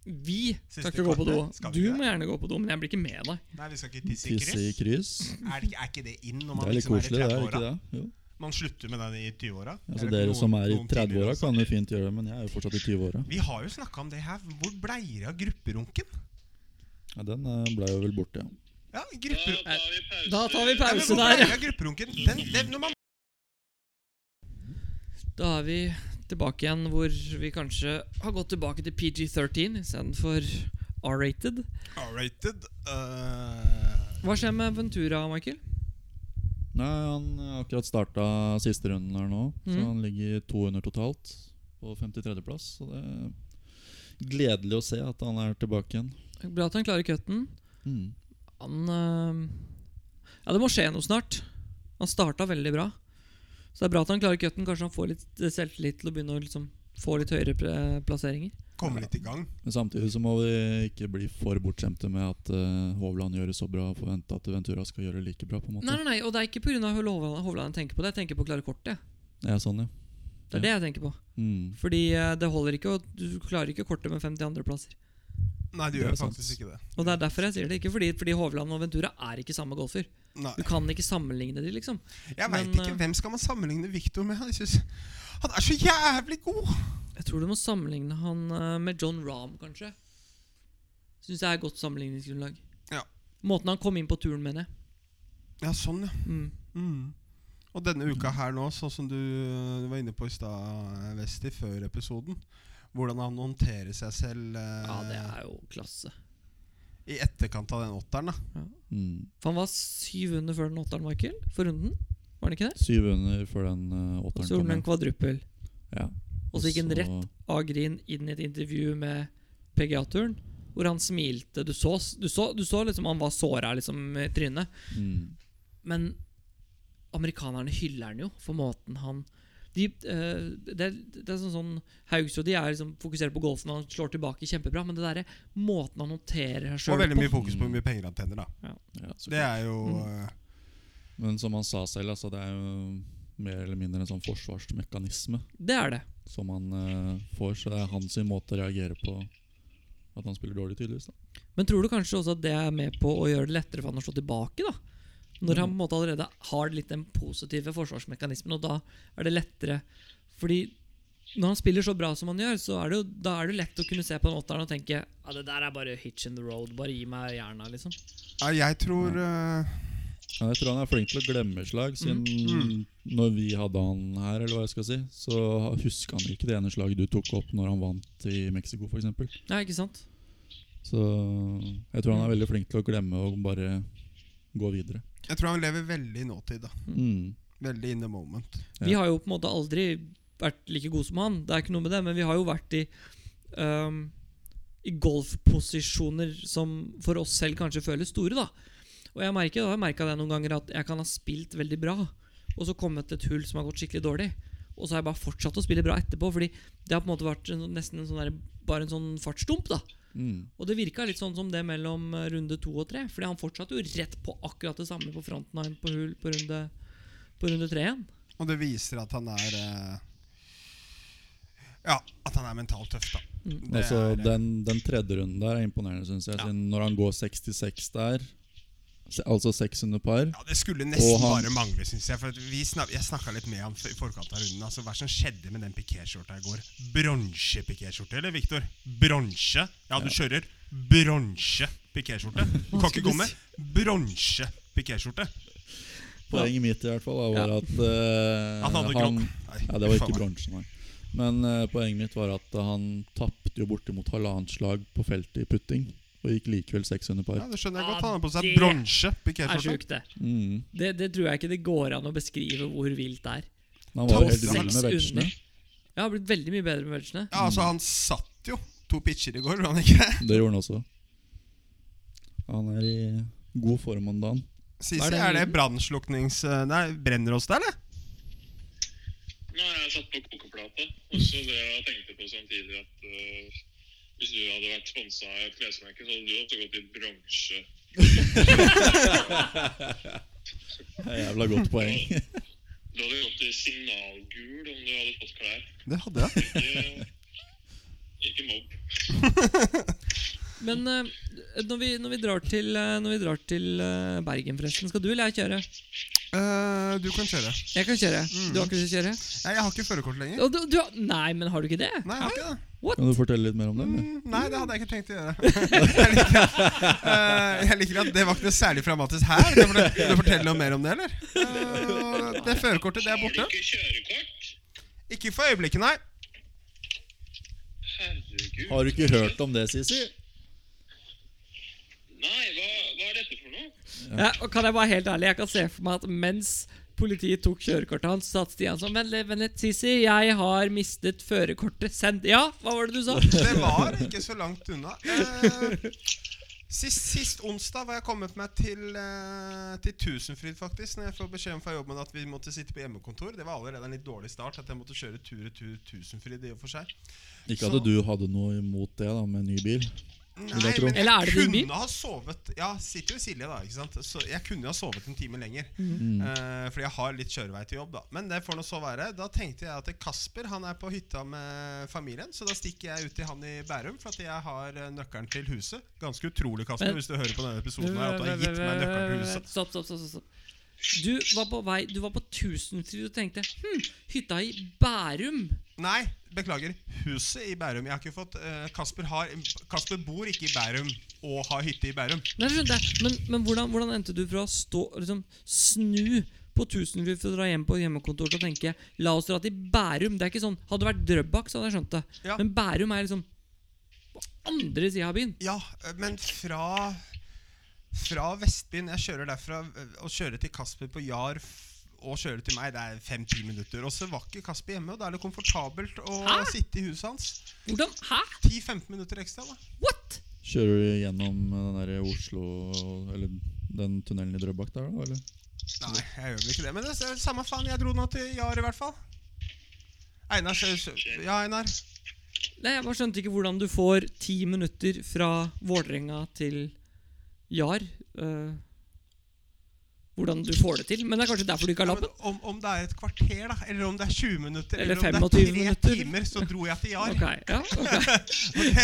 Speaker 3: Vi
Speaker 1: Siste
Speaker 3: skal ikke gå på do.
Speaker 1: kvarter, skal vi
Speaker 3: Du
Speaker 1: ikke det?
Speaker 3: må gjerne gå på do, men jeg blir ikke med deg.
Speaker 1: Nei, vi skal ikke tisse i
Speaker 2: Tisse i
Speaker 1: kryss.
Speaker 2: kryss.
Speaker 1: Er, det ikke- er ikke det inn når
Speaker 2: Det
Speaker 1: man
Speaker 2: er litt
Speaker 1: liksom
Speaker 2: koselig,
Speaker 1: er
Speaker 2: det
Speaker 1: i
Speaker 2: er jo ikke
Speaker 1: 30-åra?
Speaker 2: det? Jo.
Speaker 1: Man slutter med den i 20-åra.
Speaker 2: Altså,
Speaker 1: Eller
Speaker 2: dere
Speaker 1: noen-
Speaker 2: som er i
Speaker 1: noen tidligere
Speaker 2: 30-åra,
Speaker 1: også.
Speaker 2: kan jo fint gjøre det, men jeg er jo fortsatt i 20-åra.
Speaker 1: Vi har jo snakka om det her. Hvor blei det av grupperunken?
Speaker 2: Ja, den eh, ble jo vel borte, ja.
Speaker 1: Ja,
Speaker 4: Da
Speaker 1: grupper...
Speaker 4: tar vi pause.
Speaker 3: Da tar vi
Speaker 1: Ja, men
Speaker 3: Eh, pause
Speaker 1: hvor
Speaker 3: der.
Speaker 1: blei det av grupperunken? Den, den, når man
Speaker 3: Da er vi tilbake igjen hvor vi kanskje har gått tilbake til PG-13 istedenfor R-rated.
Speaker 1: R-rated eh,
Speaker 3: Hva skjer med Ventura, Michael?
Speaker 2: Nei, han eh, har akkurat starta siste runden her nå, så
Speaker 3: Mhm.
Speaker 2: han ligger 200 totalt på 53.-plass. Så det er gledelig å se at han er tilbake igjen.
Speaker 3: Bra at han klarer cutten.
Speaker 2: Mm.
Speaker 3: Han øh, Ja, det må skje noe snart. Han starta veldig bra. Så det er bra at han klarer cutten. Kanskje han får litt eh, selvtillit til å begynne å liksom få litt høyere pre- eh, plasseringer.
Speaker 1: kommer litt i gang.
Speaker 2: Men samtidig så må vi ikke bli for bortskjemte med at eh, Hovland gjør det så bra og forvente at Ventura skal gjøre det like bra. på en måte
Speaker 3: Nei, nei, nei, og det er ikke pga. Hovland Hovland jeg tenker på det. Jeg tenker på å klare kortet. jeg.
Speaker 2: Det er sånn, ja.
Speaker 3: Det er det jeg tenker på.
Speaker 2: Mm.
Speaker 3: Fordi eh, det holder ikke, og du klarer ikke kortet med 50 andreplasser.
Speaker 1: Nei, du
Speaker 2: Det
Speaker 1: gjør
Speaker 2: er sant.
Speaker 1: faktisk ikke det.
Speaker 3: Og det er derfor jeg sier det. Ikke fordi, fordi Hovland og Ventura er ikke samme golfer.
Speaker 1: Nei.
Speaker 3: Du kan ikke sammenligne de, liksom.
Speaker 1: Jeg veit
Speaker 3: Men,
Speaker 1: ikke.
Speaker 3: eh,
Speaker 1: Hvem skal man sammenligne Victor med? Jeg synes, han er så jævlig god!
Speaker 3: Jeg tror du må sammenligne han eh, med John Rahm, kanskje. Syns jeg er godt sammenligningsgrunnlag.
Speaker 1: Ja.
Speaker 3: Måten han kom inn på turen, mener jeg.
Speaker 1: Ja, sånn, ja.
Speaker 3: Mm.
Speaker 1: Mm. Og denne uka her nå, sånn som du eh, var inne på i stad, eh, Vesti, før episoden Hvordan han håndterer seg selv eh,
Speaker 3: Ja, det er jo klasse.
Speaker 1: i etterkant av den åtteren. da
Speaker 2: Mm.
Speaker 3: For han var syv under før den åtteren, Michael. For runden, var han ikke det?
Speaker 2: Syv under før den eh,
Speaker 3: Og
Speaker 2: åtteren
Speaker 3: så gjorde
Speaker 2: kom
Speaker 3: han
Speaker 2: inn.
Speaker 3: en kvadruppel.
Speaker 2: Ja.
Speaker 3: Og så gikk han
Speaker 2: så-
Speaker 3: rett av grin inn i et intervju med PGA-turen, hvor han smilte. Du så, du så, du så liksom han var såra liksom, i trynet.
Speaker 2: Mm.
Speaker 3: Men amerikanerne hyller han jo for måten han de, eh, det, er, det er sånn sånn Haugsrud de er liksom fokusert på golfen, og han slår tilbake kjempebra, men det derre måten han håndterer seg
Speaker 1: Og
Speaker 3: sjøl
Speaker 1: veldig
Speaker 3: på
Speaker 1: mye fokus på hvor mye penger han tjener. da
Speaker 2: Ja, så
Speaker 1: Det
Speaker 2: klart.
Speaker 1: er jo eh,
Speaker 2: Men som han sa selv, altså, det er jo mer eller mindre en sånn forsvarsmekanisme
Speaker 3: Det er det.
Speaker 2: som han eh, får. Så det er hans måte å reagere på at han spiller dårlig, tydeligvis. Da.
Speaker 3: Men tror du kanskje også at det er med på å gjøre det lettere for han å slå tilbake? da? Når han på en måte allerede har litt den positive forsvarsmekanismen, og da er det lettere. Fordi når han spiller så bra som han gjør, så er det jo, da er det jo lett å kunne se på den åtteren og tenke ja, det der er bare hitch in the road. Bare gi meg jerna, liksom.
Speaker 1: ja, Jeg tror eh,
Speaker 2: Men jeg tror han er flink til å glemme slag, siden
Speaker 1: Mm.
Speaker 2: når vi hadde han her, eller hva jeg skal si, så husker han ikke det ene slaget du tok opp når han vant i Mexico, f.eks.
Speaker 3: Nei, ikke sant?
Speaker 2: Så jeg tror han er veldig flink til å glemme og bare gå videre.
Speaker 1: Jeg tror han lever veldig i nåtid. da
Speaker 2: Mm.
Speaker 1: Veldig in the moment.
Speaker 2: Ja.
Speaker 3: Vi har jo på en måte aldri vært like gode som han. Det er ikke noe med det, men vi har jo vært i ehm, I golfposisjoner som for oss selv kanskje føles store, da. Og jeg merker, jeg har merka det noen ganger, at jeg kan ha spilt veldig bra, og så kommet til et hull som har gått skikkelig dårlig. Og så har jeg bare fortsatt å spille bra etterpå, Fordi det har på en måte vært en, sånn- nesten en sånn der, bare en sånn fartsdump. da
Speaker 2: Mm.
Speaker 3: Og det virka litt sånn som det mellom eh, runde to og tre. Fordi han fortsatte jo rett på akkurat det samme på fronten av en på hull på runde, på runde tre igjen.
Speaker 1: Og det viser at han er eh, Ja, at han er mentalt tøff, da. Det
Speaker 2: Altså,
Speaker 1: er, eh,
Speaker 2: den, den tredje runden der er imponerende, syns jeg. siden Når han går 66 der, se- altså 600 par
Speaker 1: Ja, Det skulle nesten
Speaker 2: Og han-
Speaker 1: bare mangle, syns jeg. For at vi snak, Jeg snakka litt med han i forkant av runden. Altså, Hva som skjedde med den pikéskjorta i går? Bronse pikéskjorte, eller, Viktor? Bronse? Ja, du kjører bronse pikéskjorte. Du kan ikke
Speaker 3: skulle
Speaker 1: gå med bronse pikéskjorte.
Speaker 2: Poenget mitt i hvert fall da, var
Speaker 3: Ja.
Speaker 2: at eh,
Speaker 1: Han hadde
Speaker 2: han-
Speaker 1: grått.
Speaker 2: Ja, det var ikke bronsen, nei. Men eh, poenget mitt var at han tapte jo bortimot halvannet slag på feltet i putting. Og gikk likevel 600 par.
Speaker 1: Ja, det skjønner jeg
Speaker 3: Ah,
Speaker 1: godt. Han har på seg
Speaker 3: det
Speaker 1: bronse
Speaker 3: er
Speaker 1: pikéskjorte.
Speaker 3: sjukt, det.
Speaker 2: Mm.
Speaker 3: det. Det tror jeg ikke det går an å beskrive hvor vilt det er.
Speaker 2: Men Han var jo
Speaker 1: Topp
Speaker 2: helt vill
Speaker 1: seks
Speaker 2: med vetsjene.
Speaker 3: Jeg har blitt veldig mye bedre med vegene.
Speaker 1: Ja, altså, han satt jo to pitcher i går, gjorde han ikke det?
Speaker 2: Det gjorde han også. Han er i god form om dagen.
Speaker 1: Sisi,
Speaker 3: Hva er det
Speaker 1: er det
Speaker 3: lyden?
Speaker 1: brannsluknings... eh, Nei, brenner oss der, eller?
Speaker 4: Nå har jeg satt på kokeplata, og så drev jeg og tenkte på samtidig at øh, hvis du hadde vært sponsa av et klesmerke, så hadde du også gått i bronse.
Speaker 2: Det er Jævla godt poeng.
Speaker 4: Du hadde gått i signalgul om du hadde fått klær.
Speaker 1: Det hadde jeg.
Speaker 4: Ikke, ikke mobb.
Speaker 3: Men eh, når, vi, når vi drar til, eh, når vi drar til eh, Bergen, forresten, skal du eller jeg kjøre?
Speaker 1: Eh, du kan kjøre.
Speaker 3: Jeg kan kjøre. Du har ikke lyst til å kjøre?
Speaker 1: Nei, jeg har ikke førerkort lenger.
Speaker 3: Å, du, du, har- nei, men har du ikke det?
Speaker 1: Nei, jeg har ikke det.
Speaker 2: Kan du fortelle litt mer om det? eller?
Speaker 1: Mm, Nei, det hadde jeg ikke tenkt å gjøre. jeg, liker, eh, jeg liker at det var ikke noe særlig dramatisk her. Det var det- Vil du fortelle noe mer om det, eller? Eh, det førerkortet, det er
Speaker 4: Har du
Speaker 1: borte.
Speaker 4: ikke kjørekort?
Speaker 1: Ikke for øyeblikket, nei.
Speaker 4: Herregud.
Speaker 2: Har du ikke hørt om det, Sisi?
Speaker 4: Nei, hva, hva er dette for noe?
Speaker 3: Ja, og kan jeg være helt ærlig? Jeg kan se for meg at mens politiet tok kjørekortet hans, satt Stian sånn Vent litt, vent litt, Sisi, jeg har mistet førerkortet. Send Ja, hva var det du sa?
Speaker 1: Det var ikke så langt unna. Eh, sist, sist onsdag var jeg kommet meg til, eh, til Tusenfryd, faktisk. Når jeg får beskjeden fra jobben at vi måtte sitte på hjemmekontor. Det var allerede en litt dårlig start, at jeg måtte kjøre tur-retur Tusenfryd i og for seg.
Speaker 2: Ikke at du hadde noe imot det da, med ny bil. Vil
Speaker 1: Nei,
Speaker 2: jeg tro.
Speaker 1: men jeg
Speaker 3: Eller er det din
Speaker 1: kunne
Speaker 3: bil?
Speaker 1: ha sovet Ja, sitter jo i Silje, da. ikke sant? Så jeg kunne ha sovet en time lenger.
Speaker 3: Mm.
Speaker 1: Eh, fordi jeg har litt kjørevei til jobb, da. Men det får nå så være. Da tenkte jeg at Kasper han er på hytta med familien, så da stikker jeg ut til han i Bærum. For at jeg har eh, nøkkelen til huset. Ganske utrolig, Kasper,
Speaker 3: Men-
Speaker 1: hvis du hører på denne episoden her, at du har gitt meg nøkkelen til huset.
Speaker 3: Stopp, stopp, stopp, stopp, stopp. Du var på vei Du var på Tusenfryd og tenkte Hm, hytta i Bærum.
Speaker 1: Nei, Beklager. Huset i Bærum. Jeg har ikke fått eh, Kasper, har, Kasper bor ikke i Bærum og har hytte i Bærum.
Speaker 3: Nei, jeg skjønner det. Men, men hvordan, hvordan endte du fra å stå, liksom, snu på Tusenfryd for å dra hjem på hjemmekontor til å tenke La oss dra til Bærum. Det er ikke sånn, Hadde det vært Drøbak, så hadde jeg skjønt det.
Speaker 1: Ja.
Speaker 3: Men Bærum er liksom på andre sida av byen.
Speaker 1: Ja, eh, men fra Fra Vestbyen Jeg kjører derfra eh, og kjører til Kasper på Jar f- og kjører til meg. Det er fem-ti minutter. Og så var ikke Kasper hjemme, og da er det komfortabelt å
Speaker 3: Hæ?
Speaker 1: sitte i huset hans.
Speaker 3: Hvordan? Hæ?
Speaker 1: 10-15 minutter ekstra, da.
Speaker 3: What?
Speaker 2: Kjører du gjennom den der Oslo Eller den tunnelen i Drøbak der, da? Eller?
Speaker 1: Nei, jeg gjør vel ikke det. Men det er s- samme faen, jeg dro nå til Jar i hvert fall. Einar, så- så- ja, Einar.
Speaker 3: Nei, Jeg bare skjønte ikke hvordan du får ti minutter fra Vålerenga til Jar. eh, hvordan du får det til. Men det er kanskje derfor du ikke har
Speaker 1: Ja,
Speaker 3: lappen?
Speaker 1: men om, om det er et kvarter, da, eller om det er 20 minutter,
Speaker 3: Eller
Speaker 1: eller, om det er
Speaker 3: 25
Speaker 1: tre
Speaker 3: minutter.
Speaker 1: timer, så dro jeg til Jar.
Speaker 3: Ok, ja, ok.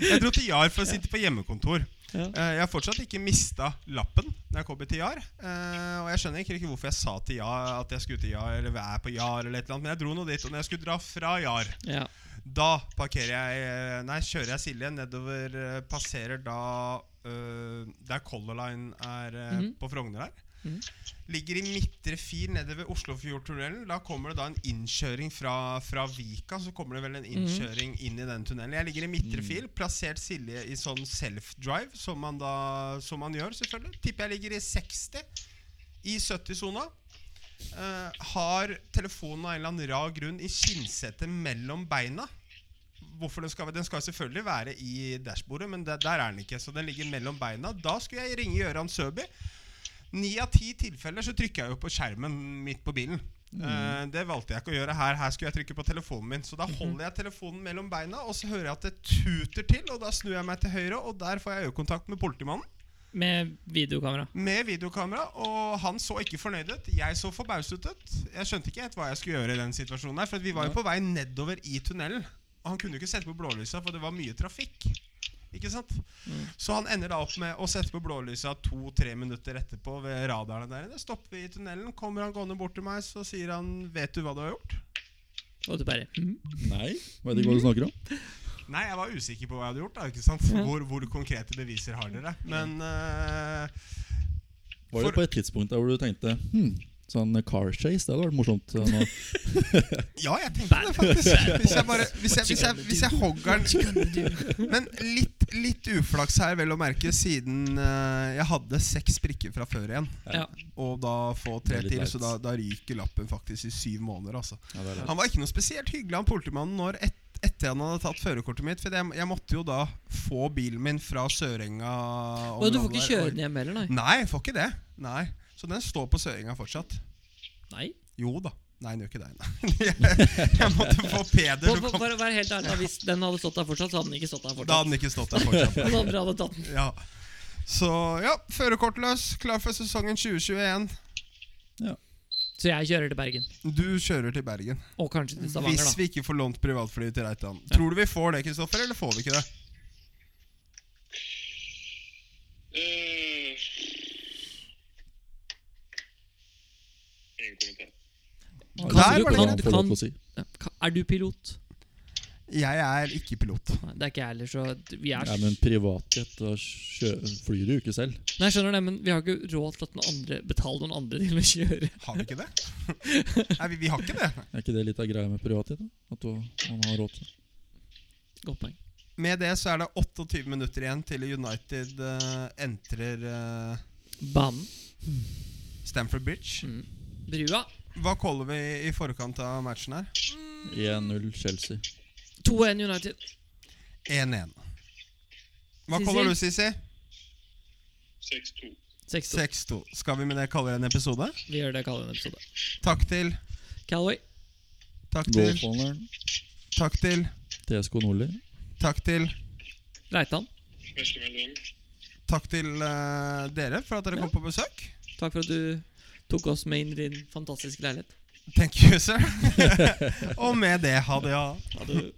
Speaker 1: Jeg dro til Jar for å sitte på hjemmekontor.
Speaker 3: Ja.
Speaker 1: Eh, Jeg har fortsatt ikke mista lappen når jeg kommer til Jar. eh, Og jeg skjønner egentlig ikke hvorfor jeg sa til Jar at jeg skulle til Jar, eller er på Jar, eller et eller annet, men jeg dro nå dit. Og når jeg skulle dra fra Jar,
Speaker 3: Ja.
Speaker 1: Da parkerer jeg eh, Nei, kjører jeg Silje nedover eh, Passerer da eh, Der Color Line er eh,
Speaker 3: Mhm.
Speaker 1: på Frogner her
Speaker 3: Mhm.
Speaker 1: Ligger i midtre fil nede ved Oslofjordtunnelen Da kommer det da en innkjøring fra, fra Vika Så kommer det vel
Speaker 3: Mhm.
Speaker 1: en innkjøring inn i den tunnelen Jeg ligger i midtre fil Plassert Silje i sånn self-drive Som man da Som man gjør selvfølgelig Tipper jeg ligger i 60 i 70-sona. eh, har telefonen av en eller annen rar grunn i kinnsetet mellom beina. Hvorfor Den skal Den skal selvfølgelig være i dashbordet, men der, der er den ikke. Så den ligger mellom beina. Da skulle jeg ringe Gøran Søby. Ni av ti tilfeller så trykker jeg jo på skjermen midt på bilen. Eh, det valgte jeg ikke å gjøre her. Her skulle jeg trykke på telefonen min. Så da holder jeg telefonen mellom beina, og så hører jeg at det tuter til. Og da snur jeg meg til høyre, og der får jeg øyekontakt med politimannen.
Speaker 3: Med videokamera.
Speaker 1: Med videokamera, og han så ikke fornøyd ut. Jeg så forbauset ut. Jeg skjønte ikke helt hva jeg skulle gjøre i den situasjonen her, for at vi var jo på vei nedover i tunnelen. Og han kunne jo ikke sette på blålysa, for det var mye trafikk. Ikke sant? Så han ender da opp med å sette på blålysa to-tre minutter etterpå ved radarene der inne. Stopper vi i tunnelen, kommer han gående bort til meg, så sier han 'Vet du hva du har gjort?'
Speaker 3: Og du bare mhm.
Speaker 2: Nei, veit ikke hva du snakker om.
Speaker 1: Nei, jeg var usikker på hva jeg hadde gjort. da, ikke sant? Hvor, hvor konkrete beviser har dere? Men eh,
Speaker 2: Var det
Speaker 1: For-
Speaker 2: på et tidspunkt der hvor du tenkte hm, sånn car chase, det hadde vært morsomt. eh, Nå.
Speaker 1: Ja, jeg tenkte det faktisk. Hvis jeg bare Hvis jeg, hvis jeg, hvis jeg hogger den Men litt, litt uflaks her, vel å merke, siden eh, jeg hadde seks prikker fra før igjen.
Speaker 3: Ja.
Speaker 1: Og da få
Speaker 2: Det
Speaker 1: tre
Speaker 2: er litt
Speaker 1: til,
Speaker 2: leit.
Speaker 1: så da, da ryker lappen faktisk i syv måneder. altså
Speaker 2: Ja, det er det.
Speaker 1: Han var ikke noe spesielt hyggelig, han politimannen, når et, etter han hadde tatt førerkortet mitt. For jeg, jeg måtte jo da få bilen min fra Sørenga.
Speaker 3: Og du får ikke kjøre
Speaker 1: den?
Speaker 3: den hjem heller, nei?
Speaker 1: Nei, jeg får ikke det. Nei Så den står på Sørenga fortsatt.
Speaker 3: nei.
Speaker 1: Jo da. Nei, den gjør ikke det. Nei. Jeg, jeg måtte få Peder
Speaker 3: For,
Speaker 1: til å
Speaker 3: for,
Speaker 1: komme.
Speaker 3: for å være helt ærlig, da, hvis den hadde stått der fortsatt, så hadde den ikke stått der
Speaker 1: Da
Speaker 3: fortsatt.
Speaker 1: hadde den ikke stått der fortsatt.
Speaker 3: Den andre hadde tatt den.
Speaker 1: Ja. Så ja, førerkortløs. Klar for sesongen 2021.
Speaker 3: Så jeg kjører til Bergen.
Speaker 1: Du kjører til Bergen.
Speaker 3: Og kanskje til Stavanger,
Speaker 1: Hvis
Speaker 3: da.
Speaker 1: vi ikke får lånt privatfly til Reitan. Tror du vi får det, Kristoffer, eller får vi ikke det?
Speaker 4: Eh, Ingen kommentar.
Speaker 1: Der
Speaker 3: Kan du-
Speaker 1: var det
Speaker 2: Kan
Speaker 3: kan-
Speaker 2: man få lov til å si.
Speaker 3: kan- kan- Er du pilot?
Speaker 1: Jeg er ikke pilot.
Speaker 3: Nei, det er ikke jeg heller, så vi er
Speaker 2: Nei, men privatjet, da kjø- flyr du jo ikke selv.
Speaker 3: Nei, jeg skjønner det, men vi har ikke råd til at noen andre betale noen andre til å kjøre.
Speaker 1: Har vi ikke det? Nei, vi, vi har ikke det.
Speaker 2: Er ikke det litt av greia med privatjet? da? At du, man har råd til det?
Speaker 3: Godt poeng.
Speaker 1: Med det så er det 28 minutter igjen til United eh, entrer eh,
Speaker 3: Banen.
Speaker 1: Stamford Bridge.
Speaker 3: Brua.
Speaker 1: Hva caller vi i forkant av matchen her?
Speaker 2: 1-0 Chelsea.
Speaker 3: 2-1 United.
Speaker 1: 1-1. Hva
Speaker 3: Sisi?
Speaker 1: caller du, Sisi?
Speaker 4: 6-2.
Speaker 3: 6-2.
Speaker 1: 6-2. Skal vi med det kalle det en episode?
Speaker 3: Vi gjør det kalde en episode.
Speaker 1: Takk til.
Speaker 3: Calway.
Speaker 1: Takk til.
Speaker 2: Goalfalleren
Speaker 1: Takk til.
Speaker 2: TSK Nordli.
Speaker 1: Takk til,
Speaker 3: Reitan,
Speaker 4: Veslemelderen.
Speaker 1: takk til eh, dere for at dere kom på besøk.
Speaker 3: takk for at du tok oss med inn i din fantastiske leilighet.
Speaker 1: Thank you, sir. Og med det, ha det. Ja.
Speaker 3: Ha det.